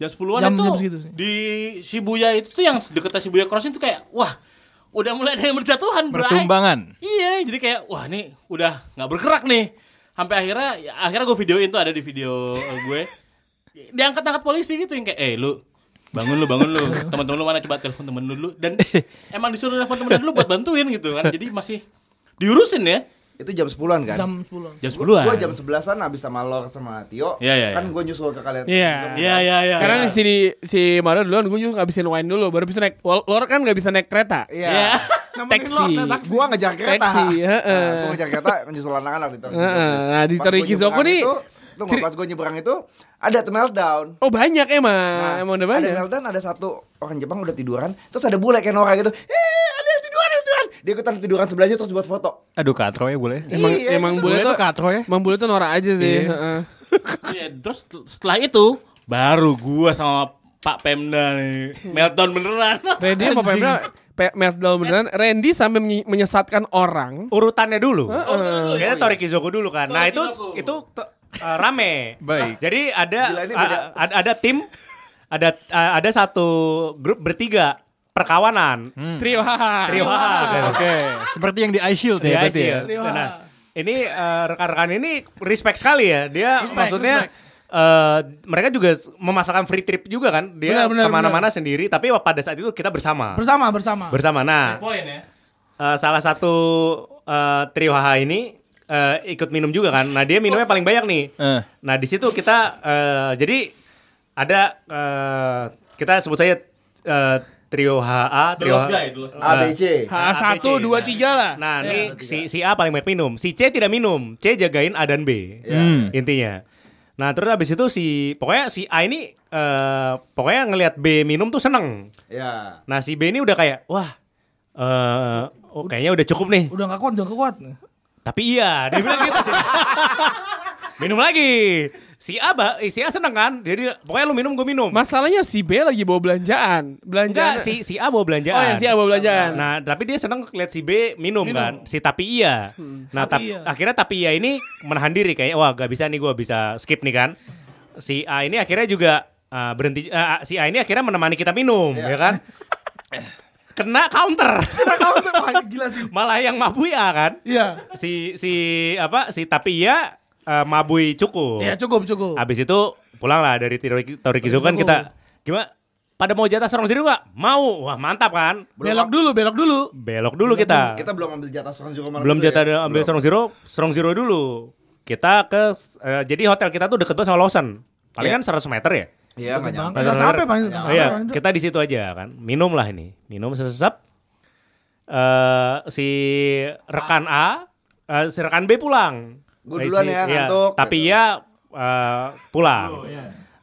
Speaker 4: Jam 10-an
Speaker 6: Jam-
Speaker 4: itu
Speaker 6: jam segitu sih.
Speaker 4: di Shibuya itu tuh yang deketnya Shibuya Crossing tuh kayak wah udah mulai ada yang berjatuhan, Bray.
Speaker 3: Pertumbangan.
Speaker 4: Iya, jadi kayak wah nih udah nggak bergerak nih. Sampai akhirnya ya, akhirnya gue videoin tuh ada di video eh, gue. Diangkat-angkat polisi gitu yang kayak eh lu bangun lu bangun lu teman-teman lu mana coba telepon temen lu dulu dan emang disuruh telepon temen lu buat bantuin gitu kan jadi masih diurusin ya
Speaker 5: Itu jam 10-an kan?
Speaker 6: Jam 10.
Speaker 4: jam 10-an
Speaker 5: Gua jam 11-an habis sama Lord sama Tio.
Speaker 4: Iya, iya,
Speaker 5: Kan
Speaker 4: iya.
Speaker 5: gue nyusul ke kalian.
Speaker 1: Iya.
Speaker 4: Iya iya iya.
Speaker 1: Karena di sini si Mario duluan gue juga ngabisin wine dulu baru bisa naik. Wal- Lor kan nggak bisa naik kereta.
Speaker 5: Iya.
Speaker 4: Iya.
Speaker 1: Taksi.
Speaker 5: Gua ngejar kereta.
Speaker 1: Taksi, heeh.
Speaker 5: Nah, gua ngejar kereta nyusul anak-anak di Torikizoku.
Speaker 1: Heeh, nah, di
Speaker 5: Pas gua
Speaker 1: Torikizoku
Speaker 5: nyebrang
Speaker 1: nih-
Speaker 5: itu, Tunggu,
Speaker 1: Ciri-
Speaker 5: pas gue nyebrang itu ada tuh meltdown.
Speaker 1: Oh banyak emang,
Speaker 5: Nah,
Speaker 1: emang udah
Speaker 5: Ada
Speaker 1: banyak.
Speaker 5: meltdown, ada satu orang Jepang udah tiduran, terus ada bule kayak Nora gitu. Eh, ada yang tiduran, ada yang tiduran. Dia ikutan tiduran sebelahnya terus buat foto.
Speaker 3: Aduh, katro ya boleh.
Speaker 1: Emang
Speaker 5: Iya,
Speaker 1: emang
Speaker 5: itu
Speaker 3: Boleh
Speaker 1: boleh tuh
Speaker 3: tuh katro ya.
Speaker 1: Emang bule tuh norak aja sih. heeh.
Speaker 4: Iya, terus setelah itu baru gua sama Pak Pemda nih
Speaker 5: Hmm.
Speaker 4: meltdown beneran.
Speaker 1: Randy sama Pemda pe- meltdown beneran. Randy sampai menyi- menyesatkan orang.
Speaker 2: Urutannya dulu.
Speaker 4: dulu,
Speaker 2: Kita Torikizoku dulu kan. Nah, itu
Speaker 4: Torikizoku.
Speaker 2: itu t- uh, rame.
Speaker 3: Baik.
Speaker 2: Jadi ada
Speaker 5: Gila, ini beda.
Speaker 2: a- a- ada tim ada uh, ada satu grup bertiga perkawanan.
Speaker 5: Iya.
Speaker 1: Trio haha.
Speaker 2: Trio Haha.
Speaker 3: Oke, seperti yang di iShield ya
Speaker 2: Iya
Speaker 3: Iya, berarti
Speaker 2: sih
Speaker 3: ya.
Speaker 2: ya. Nah, ini eh, rekan-rekan ini respect sekali ya. Dia maksudnya eh, mereka juga s- memasakkan free trip juga kan. Dia
Speaker 6: Benar, benar,
Speaker 2: kemana-mana sendiri. Tapi pada saat itu kita bersama.
Speaker 6: Bersama, bersama.
Speaker 2: bersama. Nah,
Speaker 4: Poin ya.
Speaker 2: eh, salah satu eh, trio HH ini eh, ikut minum juga kan. Nah, dia minumnya paling banyak nih.
Speaker 3: Eh.
Speaker 2: Nah, di situ kita eh, jadi ada eh, kita sebut saja eh, trio HA,
Speaker 4: The
Speaker 5: Iya.
Speaker 2: trio
Speaker 4: Lost Guy, The Lost Guy.
Speaker 5: A, B, C.
Speaker 1: Ha, satu,
Speaker 5: Iya,
Speaker 2: ABC,
Speaker 1: dua,
Speaker 2: nah.
Speaker 1: tiga Iya. lah.
Speaker 2: Nah, ini si, si A paling banyak minum, si C tidak minum, C jagain A dan B.
Speaker 3: Hmm.
Speaker 2: Intinya. Nah, terus habis itu si pokoknya si A ini eh pokoknya ngelihat B minum tuh seneng.
Speaker 5: Ya.
Speaker 2: Nah, si B ini udah kayak wah eh oh, kayaknya udah cukup nih.
Speaker 6: Udah gak kuat, udah gak kuat.
Speaker 2: Tapi iya, dia bilang
Speaker 1: (laughs)
Speaker 2: gitu. minum lagi. Si A ba- eh, si A seneng kan? Jadi pokoknya lu minum gue minum.
Speaker 1: Masalahnya si B lagi bawa belanjaan. Belanjaan.
Speaker 2: Enggak, si si A bawa belanjaan.
Speaker 1: Oh, yang si A bawa belanjaan.
Speaker 2: Nah, tapi dia senang lihat si B minum, kan. Si tapi iya.
Speaker 1: Hmm.
Speaker 2: Nah, tap-
Speaker 6: Tapi iya.
Speaker 2: akhirnya tapi iya ini menahan diri kayaknya wah gak bisa nih gua bisa skip nih kan. Si A ini akhirnya juga uh, berhenti uh, si A ini akhirnya menemani kita minum,
Speaker 6: Iya.
Speaker 2: ya
Speaker 6: (laughs)
Speaker 2: kan? Kena counter.
Speaker 6: Wah, gila sih.
Speaker 2: Malah yang mabui A kan.
Speaker 6: Iya.
Speaker 2: Si si apa? Si tapi iya uh, mabui cukup.
Speaker 5: Iya,
Speaker 6: Ya cukup, cukup.
Speaker 2: Habis itu pulang lah dari Tori- Torikizo kan kita gimana? Pada mau jatah serong sendiri gak? Mau. Wah, mantap kan?
Speaker 6: Belok dulu, belok dulu.
Speaker 2: Belok dulu kita.
Speaker 5: Kita belum ambil jatah Strong Zero malam
Speaker 2: belum
Speaker 5: itu ya?
Speaker 2: jatah ambil
Speaker 5: Belum.
Speaker 2: Strong Zero, Strong Zero dulu. Kita ke eh, jadi hotel kita tuh deket banget sama Lawson. Palingan 100 meter ya?
Speaker 5: Iya, nggak nyampe.
Speaker 6: Gak sampai paling gak
Speaker 2: Oh,
Speaker 6: sampai.
Speaker 2: iya,
Speaker 6: paling.
Speaker 2: kita di situ aja kan. Minum lah ini. Minum sesep. Eh si rekan A, eh, si rekan B pulang.
Speaker 5: Gua
Speaker 2: Eh,
Speaker 5: duluan
Speaker 2: si-
Speaker 5: ya,
Speaker 2: iya,
Speaker 5: ngantuk,
Speaker 2: Tapi
Speaker 5: gitu.
Speaker 2: ya pulang.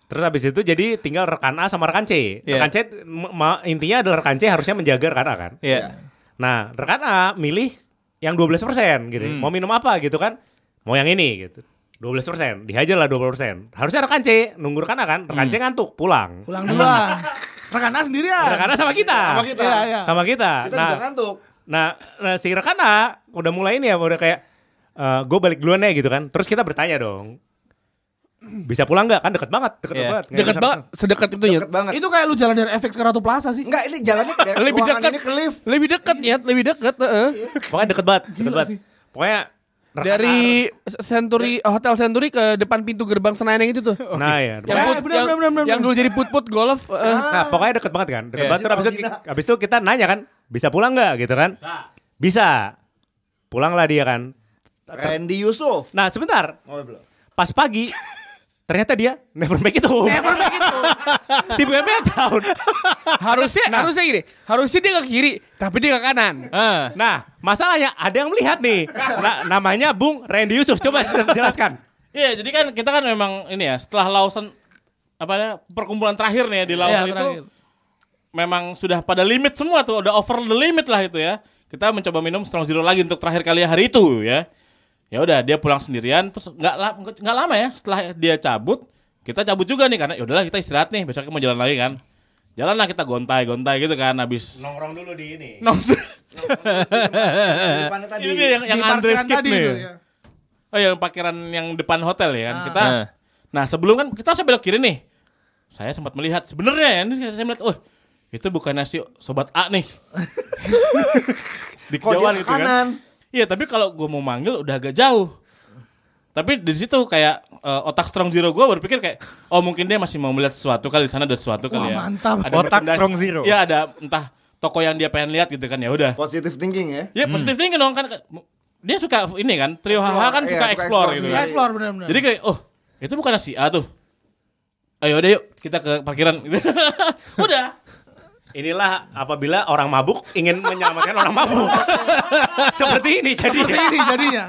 Speaker 2: Terus habis itu jadi tinggal rekan A sama rekan C.
Speaker 3: Iya.
Speaker 2: Rekan C m- ma- intinya adalah rekan C harusnya menjaga rekan A kan.
Speaker 3: Iya.
Speaker 2: Nah, rekan A milih yang 12% gitu.
Speaker 5: Hmm.
Speaker 2: Mau minum apa gitu kan? Mau yang ini gitu. 12%, dihajar lah 20%. Harusnya rekan C, nunggu rekan A kan. Rekan
Speaker 5: Hmm.
Speaker 2: C ngantuk, pulang.
Speaker 6: Pulang dulu lah. Rekan A sendirian.
Speaker 2: Rekan A sama kita.
Speaker 5: Sama kita.
Speaker 6: ya. Iya, iya.
Speaker 2: Sama kita.
Speaker 5: Kita
Speaker 2: Nah,
Speaker 5: juga kan. ngantuk.
Speaker 2: nah, nah, si rekan A udah mulai ini ya, udah kayak gue balik duluan ya gitu kan. Terus kita bertanya dong. Bisa pulang nggak? Kan deket banget, deket
Speaker 3: Iya.
Speaker 2: banget. Nggak
Speaker 1: Deket
Speaker 2: bisa-
Speaker 1: banget, sedekat itu ya.
Speaker 5: Deket banget.
Speaker 6: Itu kayak lu jalan dari efek ke Ratu Plaza sih.
Speaker 5: Enggak, ini jalannya ke
Speaker 1: Lebih
Speaker 5: ruangan
Speaker 1: dekat.
Speaker 5: ini ke lift.
Speaker 1: Lebih dekat ya, lebih dekat. heeh.
Speaker 5: Iya.
Speaker 2: Pokoknya deket banget, deket banget. Pokoknya rekan A-
Speaker 1: Dari Century
Speaker 5: Iya.
Speaker 1: Hotel Century ke depan pintu gerbang Senayan yang itu
Speaker 5: Oh,
Speaker 1: tuh.
Speaker 2: Nah ya,
Speaker 1: Oh, Yang, put-
Speaker 6: Eh, bener,
Speaker 1: yang-
Speaker 6: bener, bener, bener.
Speaker 1: yang dulu jadi put-put golf. eh, heeh.
Speaker 2: Nah, pokoknya deket banget kan. Deket
Speaker 3: Iya.
Speaker 2: banget. Terus abis itu, abis itu kita nanya kan, bisa pulang nggak gitu kan? Bisa. Pulanglah dia kan.
Speaker 5: Randy Yusuf.
Speaker 2: Nah sebentar,
Speaker 5: Oh, belum.
Speaker 2: pas pagi ternyata dia never make it home. Never make it home. (laughs) si BML tahun.
Speaker 1: harusnya harusnya gini, harusnya dia ke kiri, tapi dia ke kanan.
Speaker 3: Ah.
Speaker 2: Nah, masalahnya ada yang melihat nih. Nah, namanya Bung Randy Yusuf. Coba (laughs) jelaskan.
Speaker 4: Iya, jadi kan kita kan memang ini ya, setelah Lawson apa ya, perkumpulan terakhir nih ya di Lawson
Speaker 6: Iya,
Speaker 4: itu
Speaker 6: terakhir.
Speaker 4: memang sudah pada limit semua tuh, udah over the limit lah itu ya. Kita mencoba minum Strong Zero lagi untuk terakhir kali hari itu ya. ya udah dia pulang sendirian terus nggak la- nggak lama ya setelah dia cabut kita cabut juga nih karena ya udahlah kita istirahat nih besoknya mau jalan lagi kan jalanlah kita gontai gontai gitu kan habis
Speaker 2: Nongkrong dulu di ini.
Speaker 4: (laughs) nongkrong
Speaker 5: Depannya tadi.
Speaker 4: ini nih yang, yang
Speaker 6: Di
Speaker 4: Andre
Speaker 6: parkiran
Speaker 4: skip
Speaker 6: tadi
Speaker 4: nih
Speaker 6: tuh, ya.
Speaker 4: oh yang parkiran yang depan hotel ya kan kita
Speaker 6: Eh.
Speaker 3: Ah.
Speaker 4: nah sebelum kan kita saya belok kiri nih saya sempat melihat sebenarnya ya ini saya melihat oh itu bukannya si sobat A
Speaker 5: (laughs)
Speaker 4: nih di
Speaker 5: Kok dia
Speaker 4: kejauhan
Speaker 5: ke
Speaker 4: gitu kan
Speaker 5: kanan?
Speaker 4: Iya, tapi kalau gue mau manggil udah agak jauh. Tapi di situ kayak eh, otak strong zero gue berpikir kayak oh mungkin dia masih mau melihat sesuatu kali di sana ada sesuatu kali
Speaker 6: Wah,
Speaker 4: ya.
Speaker 6: mantap.
Speaker 4: Ada
Speaker 3: Otak
Speaker 4: merchandise.
Speaker 3: strong zero.
Speaker 4: Iya, ada entah toko yang dia pengen lihat gitu kan ya udah.
Speaker 5: Positive thinking ya.
Speaker 4: Ya positif thinking dong kan dia suka ini kan trio
Speaker 5: Explore,
Speaker 4: haha kan
Speaker 5: iya,
Speaker 4: suka
Speaker 5: suka
Speaker 4: explore gitu
Speaker 5: explore
Speaker 4: kan.
Speaker 6: Kita
Speaker 5: sendiri.
Speaker 6: explore benar-benar.
Speaker 4: Jadi kayak oh itu bukan si A tuh. Ayo udah yuk kita ke parkiran. (laughs) udah.
Speaker 2: Inilah apabila orang mabuk ingin menyelamatkan orang mabuk. Seperti ini jadi.
Speaker 6: Seperti ini jadinya.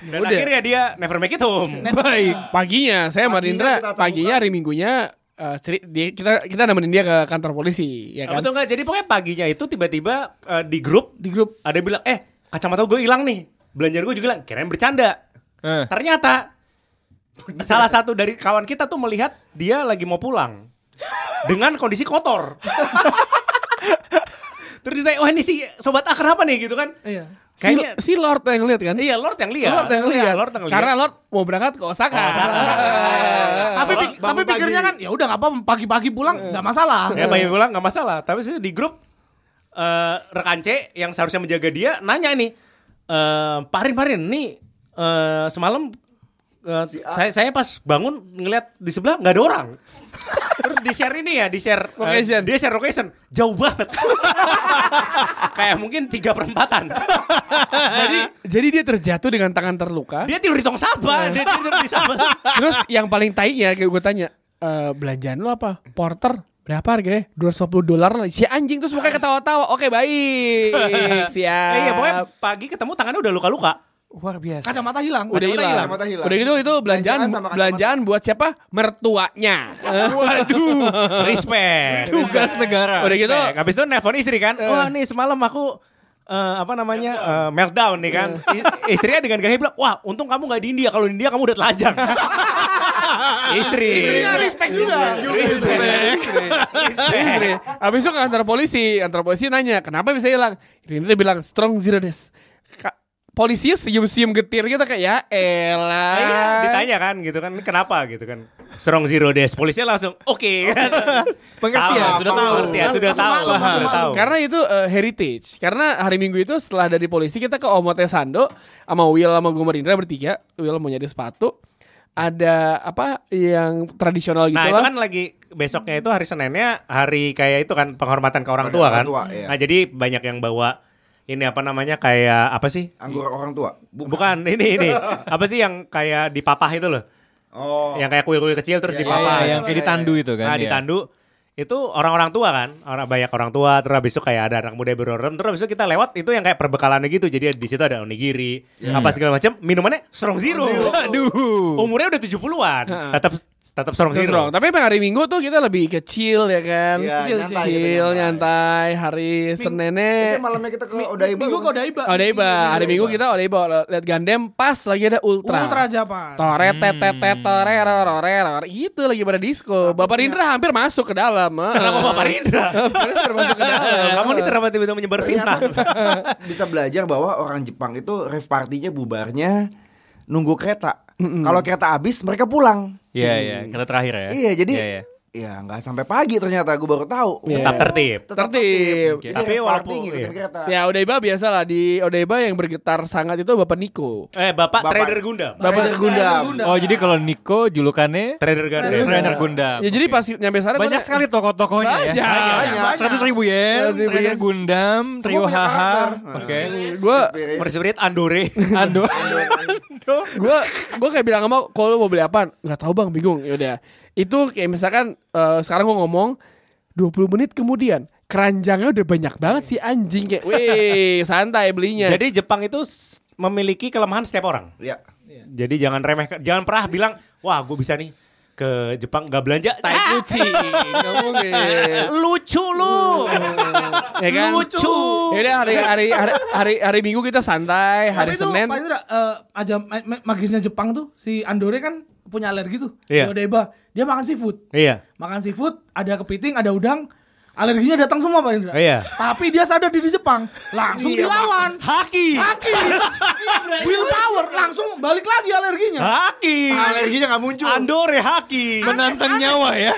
Speaker 2: Dan akhirnya dia never make it home.
Speaker 1: Baik, paginya saya sama
Speaker 5: Paginya
Speaker 1: Rindra,
Speaker 5: kita temukan.
Speaker 1: paginya hari Minggunya eh, ceri- dia- kita kita nemenin dia ke kantor polisi, ya
Speaker 2: Apa
Speaker 1: kan?
Speaker 2: tuh enggak? Jadi pokoknya paginya itu tiba-tiba eh, di grup
Speaker 6: Di grup
Speaker 2: ada yang bilang, "Eh, kacamata gue hilang nih." Belanjaan gue juga hilang. Kirain bercanda.
Speaker 3: Eh.
Speaker 2: Ternyata salah satu dari kawan kita tuh melihat dia lagi mau pulang dengan kondisi kotor. Terus ditanya, "Wah, ini si sobat A kenapa nih?" gitu kan.
Speaker 6: iya.
Speaker 1: Si,
Speaker 2: Kayaknya
Speaker 1: si Lord yang lihat kan?
Speaker 2: Iya, Lord yang lihat. Iya,
Speaker 1: Lord yang lihat.
Speaker 2: Lord yang lihat.
Speaker 1: Karena Lord mau berangkat ke Osaka. (laughs)
Speaker 6: Tapi pik-
Speaker 5: bangun
Speaker 6: tapi pikirnya
Speaker 5: pagi.
Speaker 6: kan ya udah nggak apa pagi-pagi pulang nggak masalah.
Speaker 2: Ya pengen pulang nggak masalah. Tapi sih di grup eh rekan C yang seharusnya menjaga dia nanya nih, eh Parin Parin nih eh semalam eh, saya saya pas bangun ngeliat di sebelah nggak ada orang. Terus di share ini ya, di share eh,
Speaker 1: Location.
Speaker 2: dia share location jauh banget. Kayak mungkin tiga perempatan.
Speaker 1: (laughs) jadi jadi dia terjatuh dengan tangan terluka.
Speaker 2: Dia tidur di tong sampah, dia tidur di sampah.
Speaker 1: (laughs) Terus yang paling tai ya kayak gue tanya, "Eh, belanjaan lu apa? Porter berapa harganya? 250 dolar lah. Si anjing terus mukanya ketawa-tawa. Oke,
Speaker 2: (laughs)
Speaker 1: baik. Siap.
Speaker 2: Eh, iya, pokoknya pagi ketemu tangannya udah luka-luka.
Speaker 3: Luar biasa.
Speaker 6: Kacamata hilang.
Speaker 1: udah
Speaker 6: Kacamata
Speaker 1: hilang.
Speaker 5: kacamata hilang.
Speaker 1: Udah gitu itu belanjaan
Speaker 5: Belanjaan sama kacamata.
Speaker 1: belanjaan buat siapa? Mertuanya.
Speaker 2: Waduh, (laughs) respect.
Speaker 3: Tugas negara.
Speaker 1: Udah gitu
Speaker 2: Respect. habis itu nelfon istri kan. Wah, nih semalam aku eh, apa namanya eh, meltdown nih kan. I- Istrinya dengan gaya bilang, "Wah, untung kamu nggak di India. Kalau di India kamu udah telanjang." Istri.
Speaker 6: Iya, respect juga.
Speaker 2: Respect.
Speaker 1: Istri. Abis itu ke kantor polisi, kantor polisi nanya kenapa bisa hilang. Rindra bilang strong zero days. Ka- Polisinya senyum-senyum getir gitu kayak ya elah.
Speaker 2: Nah, iya, ditanya kan gitu kan, kenapa gitu kan. Strong zero days. Polisinya langsung, "Oke."
Speaker 5: ya,
Speaker 2: sudah
Speaker 5: tahu.
Speaker 2: tahu. Pengertian, sudah
Speaker 6: Langsung
Speaker 2: tahu.
Speaker 6: maklum, langsung
Speaker 2: Sudah tahu.
Speaker 6: maklum.
Speaker 1: Karena itu eh, heritage. Karena hari Minggu itu setelah dari polisi kita ke Omote Sando sama Will sama gue sama Rindra bertiga. Will mau nyari sepatu. Ada apa yang tradisional gitu
Speaker 2: Nah itu
Speaker 1: lah.
Speaker 2: kan lagi besoknya itu hari Seninnya hari kayak itu kan penghormatan ke orang tua
Speaker 5: Orang tua,
Speaker 2: kan.
Speaker 5: iya.
Speaker 2: Nah jadi banyak yang bawa ini apa namanya kayak apa sih?
Speaker 5: Anggur orang tua. Bukan.
Speaker 2: Bukan (laughs) ini
Speaker 5: (laughs)
Speaker 2: ini apa sih yang kayak dipapah itu loh?
Speaker 5: Oh.
Speaker 2: Yang kayak kuil-kuil kecil terus
Speaker 5: Iya,
Speaker 3: Apa
Speaker 2: dipapah.
Speaker 3: yang kayak ditandu itu kan?
Speaker 2: Nah
Speaker 3: ya.
Speaker 2: ditandu itu orang-orang tua kan, orang banyak orang tua. Terus habis itu kayak ada anak muda berorem. Terus habis itu kita lewat itu yang kayak perbekalannya gitu. Jadi di situ ada onigiri,
Speaker 5: Iya.
Speaker 2: apa segala macam. Minumannya strong zero.
Speaker 3: Aduh.
Speaker 2: Umurnya udah 70-an,
Speaker 1: Heeh.
Speaker 2: tetap tetap strong
Speaker 1: Terus
Speaker 2: zero.
Speaker 1: wrong. Tapi emang hari Minggu tuh kita lebih kecil ya kan.
Speaker 5: Iya,
Speaker 1: kecil,
Speaker 5: nyantai,
Speaker 1: kecil,
Speaker 5: kita nyantai.
Speaker 1: nyantai. Hari
Speaker 5: Itu
Speaker 1: Seninnya
Speaker 5: malamnya kita ke Odaiba.
Speaker 6: Minggu ke
Speaker 5: (laughs)
Speaker 6: Odaiba.
Speaker 1: Odaiba. Hari Minggu kita
Speaker 5: Odaiba.
Speaker 1: Odaiba lihat Gandem pas lagi ada Ultra.
Speaker 6: Ultra Japan.
Speaker 1: Tore tete tore rore rore itu lagi pada disco. Bapak Rindra hampir masuk ke dalam. eh.
Speaker 2: Kenapa
Speaker 1: Kenapa
Speaker 2: Bapak
Speaker 3: (laughs)
Speaker 2: Rindra?
Speaker 1: Rindra masuk ke dalam?
Speaker 2: Kamu nih terdapat tiba-tiba menyebar fitnah.
Speaker 5: (laughs) bisa belajar bahwa orang Jepang itu rave partinya bubarnya nunggu kereta. Kalau kereta habis mereka pulang.
Speaker 3: Iya, iya. Kata terakhir ya.
Speaker 5: Iya, jadi
Speaker 3: Iya, iya.
Speaker 5: ya nggak sampai pagi ternyata gue baru tahu.
Speaker 1: Iya.
Speaker 2: Tetap tertib.
Speaker 5: Tetap
Speaker 1: Tertib.
Speaker 5: Jadi gitu,
Speaker 2: Tapi
Speaker 5: rave party
Speaker 2: walaupun-
Speaker 5: ngikutin
Speaker 2: iya.
Speaker 5: kereta.
Speaker 1: Ya Odaiba biasa lah di Odaiba yang bergetar sangat itu Bapak Niko.
Speaker 2: Eh, Bapak,
Speaker 5: Bapak.
Speaker 2: trader Gundam.
Speaker 5: Bapak Gundam.
Speaker 3: Oh, jadi kalau Niko julukannya
Speaker 2: Trader Gundam.
Speaker 3: trainer Gundam.
Speaker 1: Ya jadi pas nyampe sana
Speaker 3: banyak
Speaker 1: pokoknya-
Speaker 3: sekali tokoh-tokohnya ya.
Speaker 1: Banyak,
Speaker 5: banyak.
Speaker 3: Seratus ribu yen,
Speaker 1: 100.000
Speaker 3: trainer
Speaker 1: yen.
Speaker 3: Gundam, trio
Speaker 5: punya
Speaker 3: haha,
Speaker 5: karakter.
Speaker 3: oke,
Speaker 1: Gue
Speaker 5: Spirit.
Speaker 2: Mercy Spirit (laughs) Andore.
Speaker 3: Ando,
Speaker 1: gue gue kayak bilang sama kalau mau beli apaan nggak tahu bang bingung yaudah itu kayak misalkan eh, sekarang gue ngomong 20 menit kemudian keranjangnya udah banyak banget sih anjing kayak weh santai belinya
Speaker 2: Jadi Jepang itu s- memiliki kelemahan setiap orang.
Speaker 5: Ya.
Speaker 2: Jadi jangan remeh, jangan pernah bilang, wah gue bisa nih ke Jepang gak belanja.
Speaker 1: tai kucing nggak mungkin
Speaker 2: Ah, lucu lu.
Speaker 1: ya kan
Speaker 2: Lucu.
Speaker 1: Yaudah hari hari hari hari, hari Minggu kita santai, hari
Speaker 6: Tapi itu,
Speaker 1: Senin.
Speaker 6: Pak Indra, eh, aja ma- ma- magisnya Jepang tuh si Andore kan punya alergi tuh.
Speaker 2: Iya.
Speaker 6: Yodeba, dia makan seafood.
Speaker 2: Iya.
Speaker 6: Makan seafood, ada kepiting, ada udang. Alerginya datang semua Pak Indra.
Speaker 2: Iya.
Speaker 6: Tapi dia sadar diri Jepang, langsung dilawan.
Speaker 2: Haki.
Speaker 6: Kaki. Willpower langsung balik lagi alerginya.
Speaker 2: Haki.
Speaker 5: Alerginya nggak muncul.
Speaker 2: Andore haki.
Speaker 3: Menantang nyawa ya.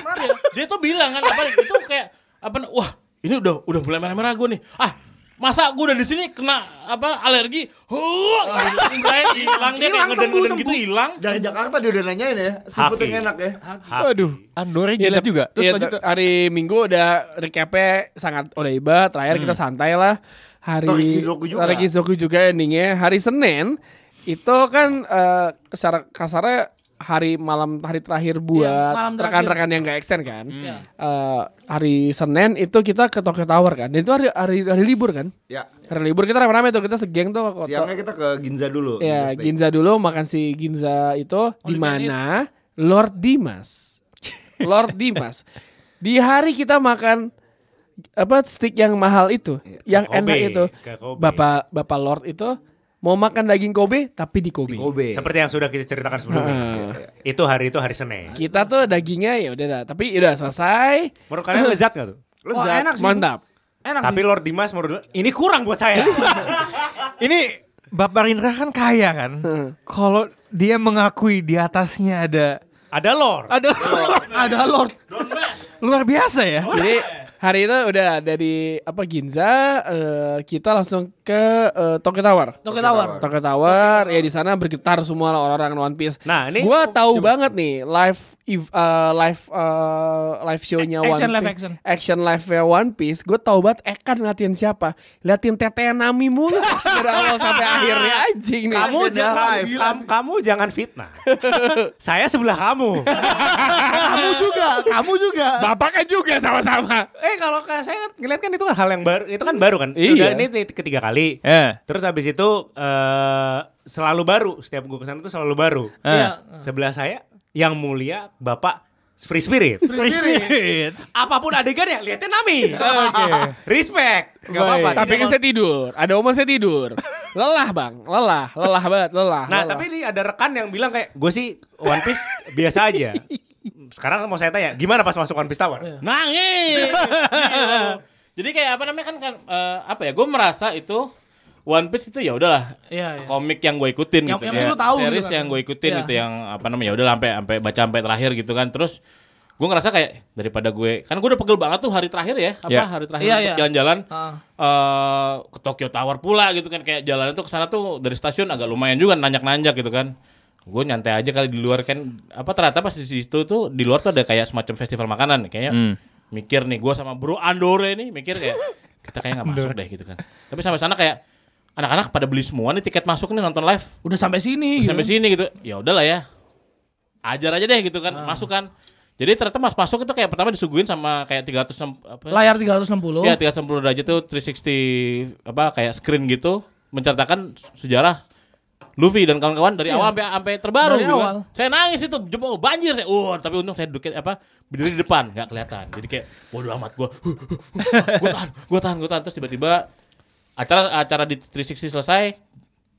Speaker 4: dia tuh bilang kan apa itu kayak apa wah ini udah udah mulai merah-merah gue nih ah masa gue udah di sini kena apa alergi huh mulai hilang dia kayak
Speaker 6: Hilang,
Speaker 4: ngeden-ngeden
Speaker 6: sembuh,
Speaker 4: gitu hilang
Speaker 5: Dari Jakarta dia udah nanyain ya, seafood yang enak ya.
Speaker 3: Aduh, Andorra
Speaker 1: Iya,
Speaker 3: gila
Speaker 1: tep-
Speaker 3: juga. Terus
Speaker 1: iya,
Speaker 3: lanjut.
Speaker 1: ter- hari Minggu udah recapnya sangat udah iba. Terakhir kita
Speaker 3: Hmm.
Speaker 1: santai lah. Hari
Speaker 5: Torikizoku juga.
Speaker 1: Torikizoku juga endingnya. Hari Senin itu kan eh, secara kasarnya hari malam hari terakhir
Speaker 3: Iya,
Speaker 1: buat
Speaker 6: malam terakhir.
Speaker 1: rekan-rekan yang gak extend kan.
Speaker 3: Hmm.
Speaker 1: Eh, hari Senin itu kita ke Tokyo Tower kan. Dan itu hari hari, hari libur kan.
Speaker 5: Ya.
Speaker 3: Iya.
Speaker 1: Hari libur kita rame-rame tuh kita segeng tuh ke
Speaker 5: Siangnya kita ke Ginza dulu.
Speaker 1: Ya,
Speaker 5: Ginza Steak.
Speaker 1: Ginza dulu makan si Ginza itu di mana Lord Dimas. (laughs) Lord Dimas. Di hari kita makan apa stick yang mahal itu, yang
Speaker 2: Kobe.
Speaker 1: enak itu.
Speaker 2: Ke Kobe.
Speaker 1: Bapak Bapak Lord itu mau makan daging Kobe tapi di Kobe.
Speaker 5: Di Kobe.
Speaker 2: Seperti yang sudah kita ceritakan sebelumnya. Itu hari itu hari Senin.
Speaker 1: Kita tuh dagingnya ya udah dah, tapi udah selesai.
Speaker 2: Menurut kalian lezat gak tuh?
Speaker 6: Wah,
Speaker 5: Lezat.
Speaker 6: enak sih.
Speaker 1: Mantap.
Speaker 6: Enak
Speaker 2: Tapi
Speaker 6: sih.
Speaker 2: Lord Dimas menurut ini kurang buat (laughs) saya.
Speaker 3: Ini Bapak Rindra kan kaya kan? Kalau dia mengakui di atasnya ada
Speaker 2: Ada Lord.
Speaker 3: ada
Speaker 6: Ada Lord.
Speaker 3: luar biasa ya.
Speaker 1: Jadi hari itu udah dari apa Ginza eh, kita langsung ke eh, Tokyo Tower.
Speaker 6: Tokyo Tower.
Speaker 1: Tokyo Tower ya di sana bergetar semua lah orang-orang One Piece.
Speaker 2: Nah, ini-
Speaker 1: gua tahu banget nih live if- eh, live eh, live show-nya
Speaker 6: A- action,
Speaker 1: One
Speaker 6: live
Speaker 1: Piece.
Speaker 6: action.
Speaker 1: live ya One Piece. Gue tahu banget Ekan ngeliatin siapa. Liatin Tete Nami mulu (laughs) dari awal sampai akhirnya anjing nih.
Speaker 2: Kamu
Speaker 5: Live,
Speaker 2: jangan
Speaker 5: live.
Speaker 2: kam- kamu jangan (laughs) fitnah. saya sebelah kamu.
Speaker 6: Kamu juga, kamu juga.
Speaker 1: Bapak kan juga sama-sama.
Speaker 2: eh kalau kan saya ngeliat kan itu kan hal yang baru, itu kan baru kan. Udah,
Speaker 1: Iya.
Speaker 2: ini t- ketiga kali.
Speaker 3: Eh,
Speaker 2: Terus habis itu eh selalu baru. Setiap gue kesana tuh selalu baru.
Speaker 3: eh.
Speaker 6: Iya.
Speaker 2: Sebelah saya yang mulia Bapak Free Spirit.
Speaker 3: free spirit.
Speaker 2: Apapun adegannya lihatnya (laughs) Nami. Respect. Gak apa-apa.
Speaker 1: Tapi
Speaker 2: Tidak
Speaker 1: kan saya tidur. Ada Oma saya tidur. Lelah bang, lelah, lelah banget, lelah.
Speaker 2: Nah,
Speaker 1: lelah.
Speaker 2: tapi ini ada rekan yang bilang kayak gue sih One Piece biasa (laughs) aja. Sekarang mau saya tanya, gimana pas masuk One Piece Tower?
Speaker 4: nangis Gitu. Iya. jadi kayak apa namanya kan kan eh, apa ya gue merasa itu One Piece itu ya udahlah
Speaker 6: Iya, iya.
Speaker 4: komik yang gue ikutin
Speaker 6: Yang-
Speaker 4: gitu
Speaker 6: yang
Speaker 4: ya.
Speaker 6: lu tahu gitu
Speaker 4: series
Speaker 6: kan.
Speaker 4: yang gue ikutin
Speaker 6: Iya.
Speaker 4: itu yang apa namanya ya udah sampai sampai baca sampai terakhir gitu kan terus gue ngerasa kayak daripada gue kan gue udah pegel banget tuh hari terakhir ya apa
Speaker 3: Iya.
Speaker 4: hari terakhir
Speaker 6: Iya,
Speaker 4: untuk
Speaker 6: iya.
Speaker 4: jalan-jalan
Speaker 6: Ah.
Speaker 4: eh, ke Tokyo Tower pula gitu kan kayak jalanan tuh ke sana tuh dari stasiun agak lumayan juga nanjak-nanjak gitu kan gue nyantai aja kali di luar kan apa ternyata pas di situ tuh di luar tuh ada kayak semacam festival makanan kayaknya mikir nih gue sama bro Andore nih mikir kayak kita kayak nggak masuk deh gitu kan tapi sampai sana kayak anak-anak pada beli semua nih tiket masuk nih nonton live
Speaker 6: Udah sampai sini.
Speaker 4: sampai
Speaker 6: gitu.
Speaker 4: sini gitu ya udahlah ya ajar aja deh gitu kan masuk kan jadi ternyata mas masuk itu kayak pertama disuguhin sama kayak 300 sem- apa ya?
Speaker 6: Layar 360.
Speaker 4: Iya 360 derajat tuh 360 apa kayak screen gitu menceritakan sejarah Luffy dan kawan-kawan dari awal sampai sampai terbaru
Speaker 6: Iya. Dari
Speaker 4: gitu kan.
Speaker 6: awal.
Speaker 4: Saya nangis itu jempol banjir saya. Uh, tapi untung saya duduk apa berdiri di depan nggak kelihatan. Jadi kayak bodo amat gua. (laughs) Huh, huh, huh, gua tahan, gua tahan, gua tahan terus tiba-tiba acara acara di 360 selesai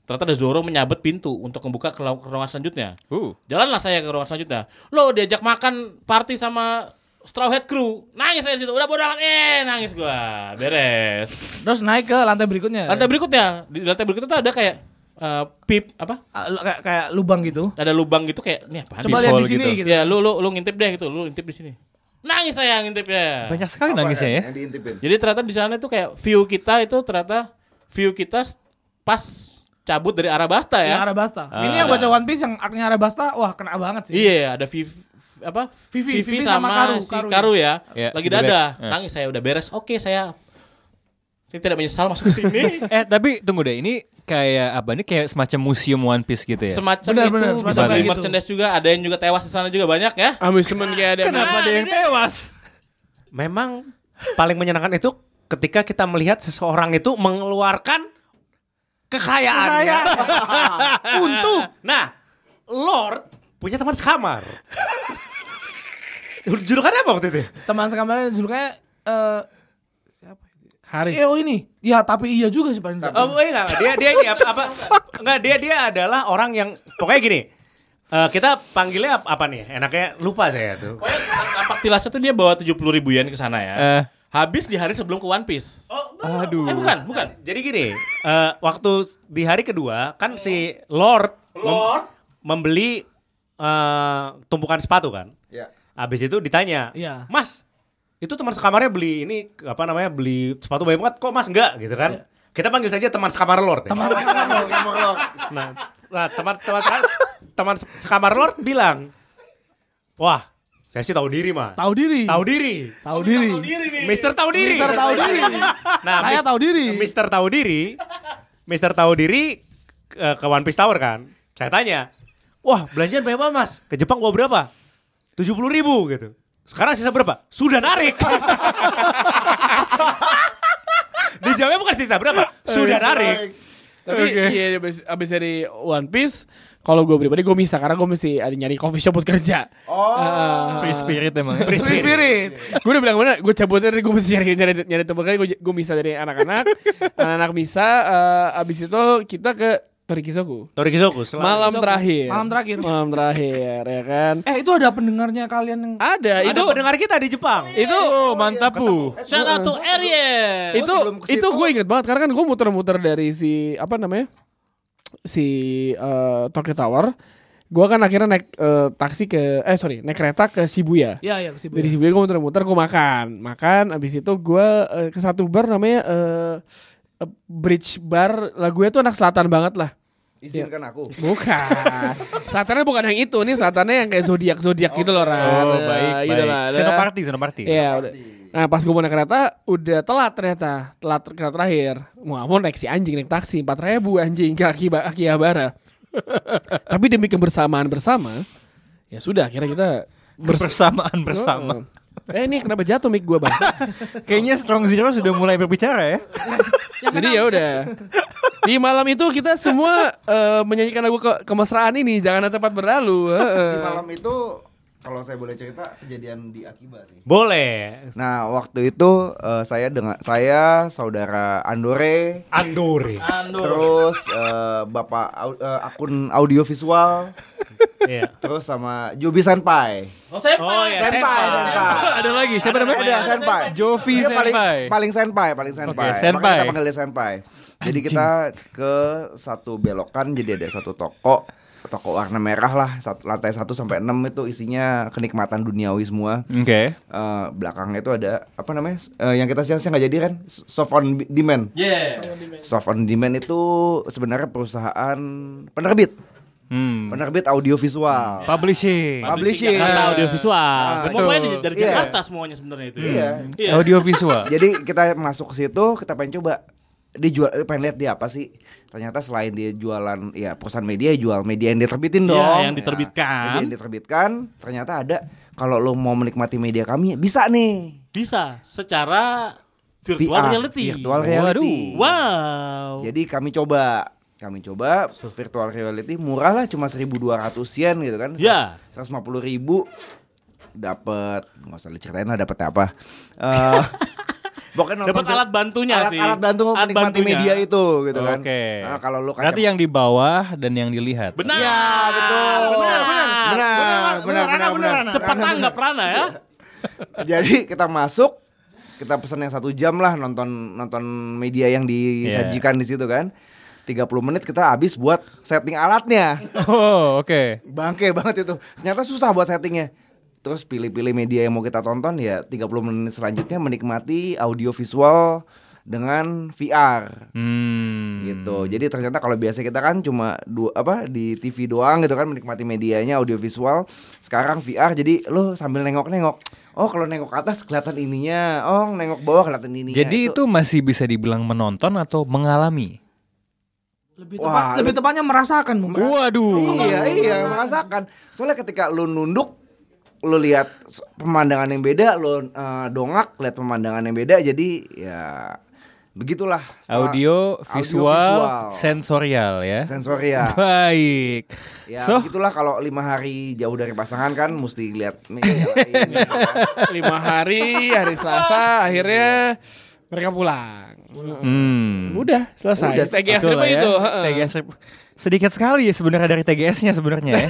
Speaker 4: ternyata ada Zoro menyabet pintu untuk membuka ke lau- ke ruangan selanjutnya.
Speaker 6: Uh.
Speaker 4: Jalanlah saya ke ruangan selanjutnya. Lo diajak makan party sama Straw Hat Crew. Nangis saya di situ. Udah bodo amat. Eh, nangis gua. Beres.
Speaker 6: (laughs) Terus naik ke lantai berikutnya.
Speaker 4: Lantai berikutnya, di lantai berikutnya tuh ada kayak eh, pip apa?
Speaker 6: Ah, lu- kayak kayak lubang gitu.
Speaker 4: Ada lubang gitu kayak nih apaan?
Speaker 6: Coba
Speaker 4: nih?
Speaker 6: lihat di
Speaker 4: Hole
Speaker 6: sini gitu.
Speaker 4: Ya, lu lu lu ngintip deh gitu. Lu ngintip di sini. Nangis saya ngintipnya.
Speaker 3: Banyak sekali
Speaker 5: Apa
Speaker 3: nangisnya ya.
Speaker 5: Yang diintipin.
Speaker 4: Jadi ternyata di sana itu kayak view kita itu ternyata view kita pas cabut dari Arabasta ya.
Speaker 6: Yang Arabasta. Ini yang baca One Piece yang artinya Arabasta, wah kena banget sih.
Speaker 4: Iya, ada Vivi apa?
Speaker 6: Vivi, Vivi
Speaker 4: sama,
Speaker 6: sama Karu,
Speaker 4: si
Speaker 6: Karu
Speaker 4: Karu,
Speaker 6: ya.
Speaker 4: ya.
Speaker 3: Iya, si
Speaker 4: Lagi
Speaker 3: bebek.
Speaker 4: dada.
Speaker 3: Iya.
Speaker 4: Nangis saya udah beres. Oke, saya saya tidak menyesal masuk ke
Speaker 6: (laughs)
Speaker 4: sini.
Speaker 6: Iya.
Speaker 3: Eh, tapi tunggu deh, ini kayak apa? Ini kayak semacam museum One Piece gitu ya.
Speaker 4: Semacam
Speaker 6: Benar,
Speaker 4: itu
Speaker 6: benar,
Speaker 4: bisa
Speaker 6: semacam
Speaker 4: beli
Speaker 6: gitu.
Speaker 4: merchandise juga, ada yang juga tewas di sana juga banyak ya.
Speaker 1: Amusement kayak ada.
Speaker 3: Kenapa ada yang tewas?
Speaker 2: Memang paling menyenangkan itu ketika kita melihat seseorang itu mengeluarkan kekayaannya. (laughs) Untuk nah, Lord punya teman sekamar. Julukannya apa waktu itu?
Speaker 6: Teman sekamarnya julukannya eh siapa? ya?
Speaker 1: Hari.
Speaker 6: EO ini. Ya tapi iya juga sih Pak Indra.
Speaker 2: Oh, iya enggak. Dia dia ini apa, apa enggak dia dia adalah orang yang pokoknya gini. eh, kita panggilnya ap- apa nih? Enaknya lupa saya tuh.
Speaker 4: Pokoknya tampak tilasnya tuh dia bawa 70 ribu yen ke sana
Speaker 3: Eh.
Speaker 4: ya. Habis di hari sebelum ke One Piece.
Speaker 2: Oh,
Speaker 3: Aduh.
Speaker 4: Eh bukan, bukan.
Speaker 2: Jadi gini, eh, waktu di hari kedua kan si Lord mem-
Speaker 4: Lord.
Speaker 2: membeli eh, tumpukan sepatu kan.
Speaker 5: Ya.
Speaker 2: Habis itu ditanya,
Speaker 6: Iya.
Speaker 2: Mas, itu teman sekamarnya beli ini apa namanya beli sepatu banyak banget, kok Mas enggak gitu
Speaker 6: Ya.
Speaker 2: kan? Kita panggil saja teman sekamar Lord. ya.
Speaker 6: (laughs)
Speaker 2: Nah, nah, teman teman teman sekamar Lord bilang, wah, saya sih tahu diri mas.
Speaker 6: Tahu diri.
Speaker 2: Tahu diri.
Speaker 6: Tahu diri.
Speaker 2: Mister tahu diri.
Speaker 6: Mister tahu diri.
Speaker 2: Nah,
Speaker 6: Saya
Speaker 2: mis-
Speaker 6: tahu diri.
Speaker 2: Mister tahu diri. Mister tahu diri ke, ke One Piece Tower kan. Saya tanya, wah belanjaan berapa mas? Ke Jepang gua berapa? 70 ribu gitu. Sekarang sisa berapa? Sudah narik. (laughs) Dijawabnya bukan sisa berapa, sudah narik.
Speaker 1: Tapi iya, abis, abis dari One Piece, kalau gue pribadi gue bisa karena gue mesti ada nyari coffee shop buat kerja. Oh.
Speaker 3: Free spirit emang. ya.
Speaker 2: Free spirit.
Speaker 1: gue udah bilang mana, gue cabut dari gue mesti nyari nyari, nyari tempat kerja. Gue gue misa dari anak-anak, anak-anak misa. eh, abis itu kita ke Torikizoku.
Speaker 2: Torikizoku selalu.
Speaker 1: Malam
Speaker 6: Torikizoku.
Speaker 1: terakhir.
Speaker 6: Malam terakhir.
Speaker 1: Malam terakhir ya kan.
Speaker 6: Eh itu ada pendengarnya kalian yang
Speaker 1: Ada,
Speaker 2: Ada
Speaker 1: itu
Speaker 2: pendengar kita di Jepang.
Speaker 1: itu
Speaker 5: iya.
Speaker 3: Oh, mantap bu.
Speaker 4: Shout out to Ariel.
Speaker 1: itu
Speaker 5: sebelum ke
Speaker 1: itu
Speaker 5: situ-
Speaker 1: gue inget banget karena kan gue muter-muter dari si apa namanya si eh, Tokyo Tower gue kan akhirnya naik eh, taksi ke eh sorry naik kereta ke Shibuya
Speaker 6: Ya ya ke
Speaker 1: dari
Speaker 6: Shibuya.
Speaker 1: Shibuya gue muter-muter gue makan makan abis itu gue eh, ke satu bar namanya eh, eh, Bridge Bar lagunya tuh anak selatan banget lah
Speaker 5: Izinkan aku.
Speaker 1: bukan selatannya bukan yang itu nih selatannya yang kayak zodiak zodiak gitu loh Ran.
Speaker 3: Oh
Speaker 1: Eh,
Speaker 3: baik
Speaker 1: gitu
Speaker 3: baik.
Speaker 1: lah.
Speaker 3: Senoparti senoparti.
Speaker 1: Iya udah. Nah pas gue mau naik kereta udah telat ternyata telat ter- kereta terakhir. Mau mau naik si anjing naik taksi empat ribu anjing ke Aki Akihabara. (laughs) Tapi demi kebersamaan bersama ya sudah akhirnya kita bers-
Speaker 5: Oh.
Speaker 3: Bersamaan bersama.
Speaker 1: Eh ini kenapa jatuh mic gue (laughs) bang? Ya kan,
Speaker 3: Kayaknya Strong Zero sudah mulai berbicara ya.
Speaker 1: Jadi ya udah. Di malam itu kita semua eh, menyanyikan lagu ke- kemesraan ini jangan cepat berlalu. heeh. (laughs)
Speaker 5: Di malam itu kalau saya boleh cerita kejadian di Akiba sih.
Speaker 2: Boleh.
Speaker 5: Nah, waktu itu eh, saya dengan saya saudara Andore
Speaker 2: Andore.
Speaker 4: Ando.
Speaker 5: terus eh, Bapak au- eh, akun audiovisual
Speaker 2: Iya.
Speaker 5: terus sama Jubi Senpai.
Speaker 4: Oh, senpai.
Speaker 2: Oh, iya,
Speaker 5: senpai, senpai.
Speaker 3: Ada lagi siapa
Speaker 5: Ada,
Speaker 3: namanya?
Speaker 5: senpai.
Speaker 3: Jovi
Speaker 5: Dia paling
Speaker 3: Senpai.
Speaker 5: paling senpai, paling senpai.
Speaker 3: Oke, senpai.
Speaker 5: Makanya kita panggil dia senpai. Jadi kita ke satu belokan jadi ada satu toko toko warna merah lah sat- lantai 1 sampai 6 itu isinya kenikmatan duniawi semua
Speaker 3: Oke.
Speaker 5: Eh, belakangnya itu ada apa namanya eh, yang kita siang-siang nggak jadi kan soft on b- demand
Speaker 4: Yeah.
Speaker 5: soft on demand itu sebenarnya perusahaan penerbit
Speaker 3: Hmm.
Speaker 5: penerbit audiovisual
Speaker 3: Publishing.
Speaker 5: publishing Ah.
Speaker 4: Jakarta audiovisual.
Speaker 3: betul.
Speaker 4: Semuanya dari- dari
Speaker 5: Iya.
Speaker 4: Jakarta semuanya sebenarnya itu.
Speaker 5: Iya.
Speaker 4: Iya.
Speaker 3: Audio visual.
Speaker 5: Jadi kita masuk ke situ, kita pengen coba dijual pengen lihat dia apa sih. Ternyata selain dia jualan ya perusahaan media jual media yang diterbitin
Speaker 4: Iya,
Speaker 5: dong.
Speaker 4: yang diterbitkan.
Speaker 5: media yang diterbitkan, ternyata ada kalau lo mau menikmati media kami ya bisa nih.
Speaker 4: Bisa secara virtual
Speaker 5: VR,
Speaker 4: reality.
Speaker 5: Virtual reality.
Speaker 4: Wow.
Speaker 5: Jadi kami coba kami coba virtual reality murah lah cuma 1200 yen gitu kan.
Speaker 4: Ya.
Speaker 5: 150 ribu dapat nggak usah diceritain lah dapat apa. Eh (laughs) Pokoknya nonton
Speaker 4: Dapat
Speaker 5: film-
Speaker 4: alat bantunya
Speaker 5: alat,
Speaker 4: sih.
Speaker 5: Alat bantu
Speaker 4: Alat
Speaker 5: menikmati
Speaker 4: bantunya.
Speaker 5: media itu gitu kan.
Speaker 3: Oke.
Speaker 5: Nah, kalau lu kaca
Speaker 3: (laughs) Berarti yang di bawah dan yang dilihat.
Speaker 4: Benar.
Speaker 5: Ya,
Speaker 4: Ah,
Speaker 5: betul.
Speaker 4: Benar, benar.
Speaker 5: Benar, benar, benar, benar.
Speaker 4: Cepat
Speaker 5: Benar,
Speaker 4: tanggap Rana ya.
Speaker 5: Jadi kita masuk kita pesan yang satu jam lah nonton nonton media yang
Speaker 4: Iya.
Speaker 5: disajikan di situ kan. 30 menit kita habis buat setting alatnya.
Speaker 3: Oh, oke.
Speaker 5: Bangke banget itu. Ternyata susah buat settingnya. Terus pilih-pilih media yang mau kita tonton ya 30 menit selanjutnya menikmati audiovisual dengan VR.
Speaker 3: Hmm.
Speaker 5: gitu. Jadi ternyata kalau biasa kita kan cuma dua apa di TV doang gitu kan menikmati medianya audiovisual. Sekarang VR jadi lo sambil nengok-nengok. Oh, kalau nengok ke atas kelihatan ininya. Oh, nengok bawah kelihatan ininya.
Speaker 3: Jadi itu masih bisa dibilang menonton atau mengalami.
Speaker 6: Lebih
Speaker 5: Wah,
Speaker 6: tepat, lebih
Speaker 5: lu-
Speaker 6: tepatnya merasakan mungkin.
Speaker 3: Waduh.
Speaker 5: Iya, iya, merasakan. Soalnya ketika lu nunduk lu lihat s- pemandangan yang beda, lu eh, dongak lihat pemandangan yang beda jadi ya begitulah Setelah-
Speaker 3: Audio,
Speaker 5: audiovisual,
Speaker 3: visual, sensorial ya.
Speaker 5: sensorial.
Speaker 3: Baik.
Speaker 5: Ya
Speaker 3: So,
Speaker 5: begitulah kalau lima hari jauh dari pasangan kan mesti lihat media lain.
Speaker 1: lima hari hari Selasa akhirnya Iya. Mereka pulang.
Speaker 3: Hmm.
Speaker 1: Udah selesai.
Speaker 5: Udah,
Speaker 1: TGS
Speaker 3: Betul
Speaker 1: apa
Speaker 3: lah ya.
Speaker 1: itu? heeh.
Speaker 3: TGS rip- sedikit sekali ya sebenarnya dari TGS-nya sebenarnya ya.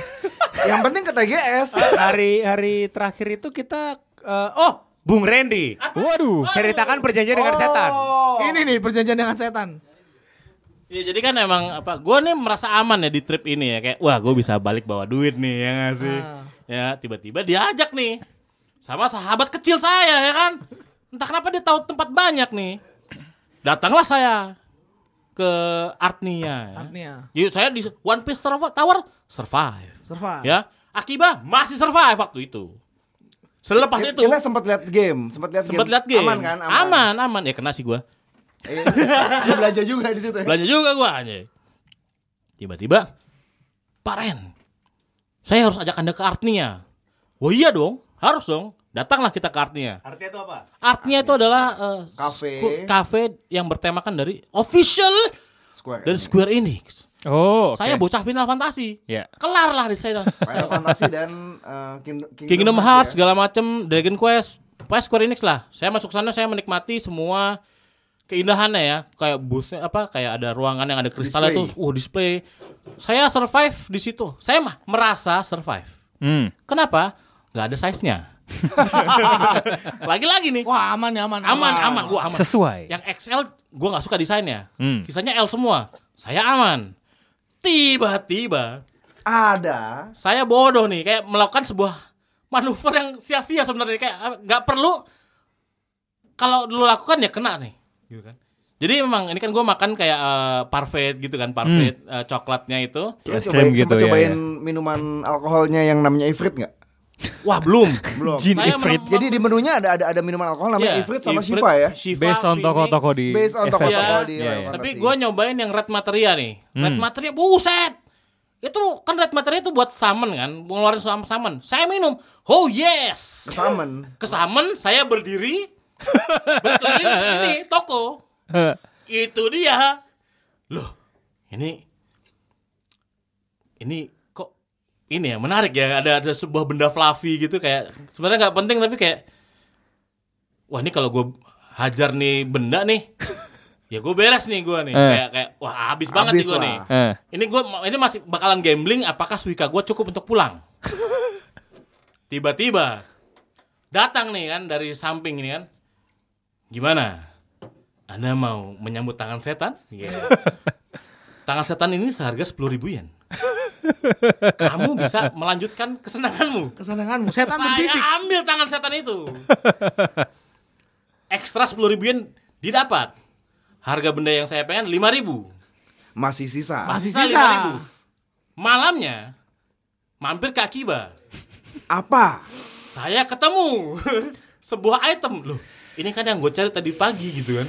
Speaker 5: Yang penting ke TGS.
Speaker 2: hari hari terakhir itu kita eh, oh Bung Randy
Speaker 3: (laughs) Waduh.
Speaker 2: ceritakan perjanjian dengan setan.
Speaker 5: Oh.
Speaker 6: Oh, Ini nih perjanjian dengan setan.
Speaker 4: Iya jadi kan emang apa gue nih merasa aman ya di trip ini ya kayak wah gue bisa balik bawa duit nih ya nggak sih
Speaker 5: Ah.
Speaker 4: ya tiba-tiba diajak nih sama sahabat kecil saya ya kan entah kenapa dia tahu tempat banyak nih datanglah saya ke Artnia ya.
Speaker 6: Artnia.
Speaker 4: Jadi saya di One Piece Tower, Tower survive
Speaker 6: Survive.
Speaker 4: ya Akiba masih survive waktu itu selepas
Speaker 5: Kita-
Speaker 4: itu
Speaker 5: Kita sempat lihat game, sempat lihat game.
Speaker 4: sempat lihat game
Speaker 5: Aman kan?
Speaker 4: aman aman, aman. ya kena sih gue
Speaker 5: Iya. Lu belanja juga di situ. ya?
Speaker 4: Belanja juga gua anjay. Tiba-tiba, Pak Ren, saya harus ajak Anda ke Artnia. Oh iya dong, harus dong. Datanglah kita ke Artnia.
Speaker 2: Artinya itu apa?
Speaker 4: Artnia itu adalah eh,
Speaker 5: Cafe.
Speaker 4: sku- cafe yang bertemakan dari official
Speaker 5: Square.
Speaker 4: dari Square Enix.
Speaker 3: Oh, oke.
Speaker 4: Saya bocah Final Fantasy.
Speaker 3: Ya.
Speaker 4: Kelar lah di saya.
Speaker 5: Final Fantasy dan eh, King-
Speaker 4: Kingdom
Speaker 5: Hearts ya.
Speaker 4: Hearts segala macem, Dragon Quest, pokoknya Square Enix lah. Saya masuk sana saya menikmati semua keindahannya ya, kayak busnya apa, kayak ada ruangan yang ada kristalnya tuh,
Speaker 5: Display.
Speaker 4: uh display. Saya survive di situ. Saya mah merasa survive.
Speaker 3: Hmm.
Speaker 4: Kenapa? Gak ada size-nya. (laughs) Lagi-lagi nih.
Speaker 6: Wah aman ya aman.
Speaker 4: Aman, aman, gua aman.
Speaker 3: Sesuai.
Speaker 4: Yang XL gue nggak suka desainnya.
Speaker 3: Hmm.
Speaker 4: Sisanya L semua. Saya aman. Tiba-tiba
Speaker 5: Ada.
Speaker 4: saya bodoh nih kayak melakukan sebuah manuver yang sia-sia sebenarnya kayak ah, nggak perlu kalau lu lakukan ya kena nih gitu kan jadi memang ini kan gue makan kayak eh, parfait gitu kan parfait eh, coklatnya itu
Speaker 5: Lu
Speaker 3: Es
Speaker 5: cobain,
Speaker 3: krim gitu,
Speaker 5: sempat
Speaker 3: ya,
Speaker 5: cobain
Speaker 3: ya.
Speaker 5: minuman alkoholnya yang namanya Ifrit nggak?
Speaker 4: wah belum
Speaker 5: Belum.
Speaker 3: Jin
Speaker 4: Saya
Speaker 3: Ifrit.
Speaker 4: menem-
Speaker 5: Jadi di menunya ada ada ada minuman alkohol namanya
Speaker 4: Iya,
Speaker 5: Ifrit sama
Speaker 4: Ifrit,
Speaker 5: Shiva ya.
Speaker 4: Shiva,
Speaker 3: Based on
Speaker 4: Phoenix.
Speaker 3: toko-toko di
Speaker 5: Based on
Speaker 3: FF.
Speaker 5: toko-toko
Speaker 4: Iya.
Speaker 5: di
Speaker 3: Iya,
Speaker 5: Final
Speaker 3: iya.
Speaker 5: Fantasy.
Speaker 4: tapi gue nyobain yang red materia nih red materia buset itu kan red materia itu buat salmon kan ngeluarin sam- salmon saya minum oh yes
Speaker 5: Kesamen.
Speaker 4: kesamen saya berdiri berkeliling ini toko itu dia loh ini ini kok ini ya menarik ya ada ada sebuah benda fluffy gitu kayak sebenarnya nggak penting tapi kayak wah ini kalau gue hajar nih benda nih ya gue beres nih gue nih
Speaker 3: Eh.
Speaker 4: kayak kayak wah habis banget nih
Speaker 5: Habis
Speaker 4: gue
Speaker 5: lah.
Speaker 4: nih
Speaker 3: Eh.
Speaker 4: ini gue ini masih bakalan gambling apakah suika gue cukup untuk pulang?
Speaker 6: (laughs)
Speaker 4: Tiba-tiba datang nih kan dari samping ini kan. Gimana? Anda mau menyambut tangan setan?
Speaker 6: (laughs)
Speaker 4: Iya. tangan setan ini seharga 10.000 yen. Kamu bisa melanjutkan kesenanganmu.
Speaker 6: Kesenanganmu setan berbisik.
Speaker 4: Saya ambil tangan setan
Speaker 6: (laughs)
Speaker 4: itu. Ekstra 10.000 yen didapat. Harga benda yang saya pengen 5.000
Speaker 5: Masih sisa.
Speaker 4: masih
Speaker 6: Sisa.
Speaker 4: sisa 5.000. Malamnya mampir ke Akiba.
Speaker 5: Apa?
Speaker 4: Saya ketemu (laughs) sebuah item loh. Ini kan yang gue cari tadi pagi gitu kan.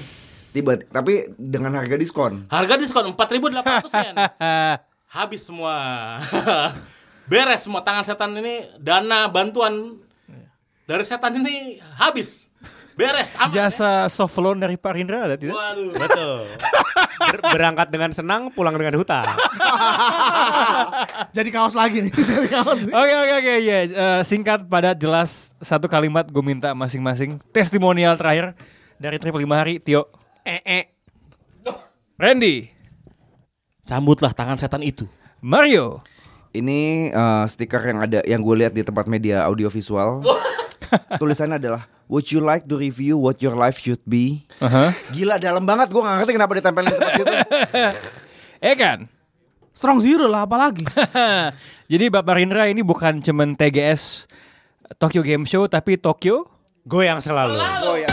Speaker 5: Tiba tapi dengan harga diskon.
Speaker 4: Harga diskon 4.800 yen.
Speaker 3: Eh,
Speaker 4: Habis semua. (laughs) Beres semua tangan setan ini dana bantuan dari setan ini habis. Beres aman, ya.
Speaker 3: Jasa soft loan dari Pak Rindra ada tidak?
Speaker 4: Waduh, betul.
Speaker 2: Ber- berangkat dengan senang, pulang dengan hutang.
Speaker 6: Jadi kaos lagi nih. (laughs) Jadi kaos. nih.
Speaker 3: Oke oke oke ya Eh, singkat padat jelas satu kalimat gue minta masing-masing testimonial terakhir dari triple lima hari Tio eh eh. Randy
Speaker 4: Sambutlah tangan setan itu.
Speaker 3: Mario
Speaker 5: Ini eh, stiker yang ada yang gue lihat di tempat media audiovisual. Tulisannya adalah Would you like to review what your life should be? Gila dalam banget gue gak ngerti kenapa ditempelin di tempat itu.
Speaker 3: Ekan
Speaker 6: Strong zero lah apalagi.
Speaker 3: Jadi Bapak Rindra ini bukan cuman TGS Tokyo Game Show tapi Tokyo
Speaker 2: Goyang selalu.
Speaker 5: Oh ya.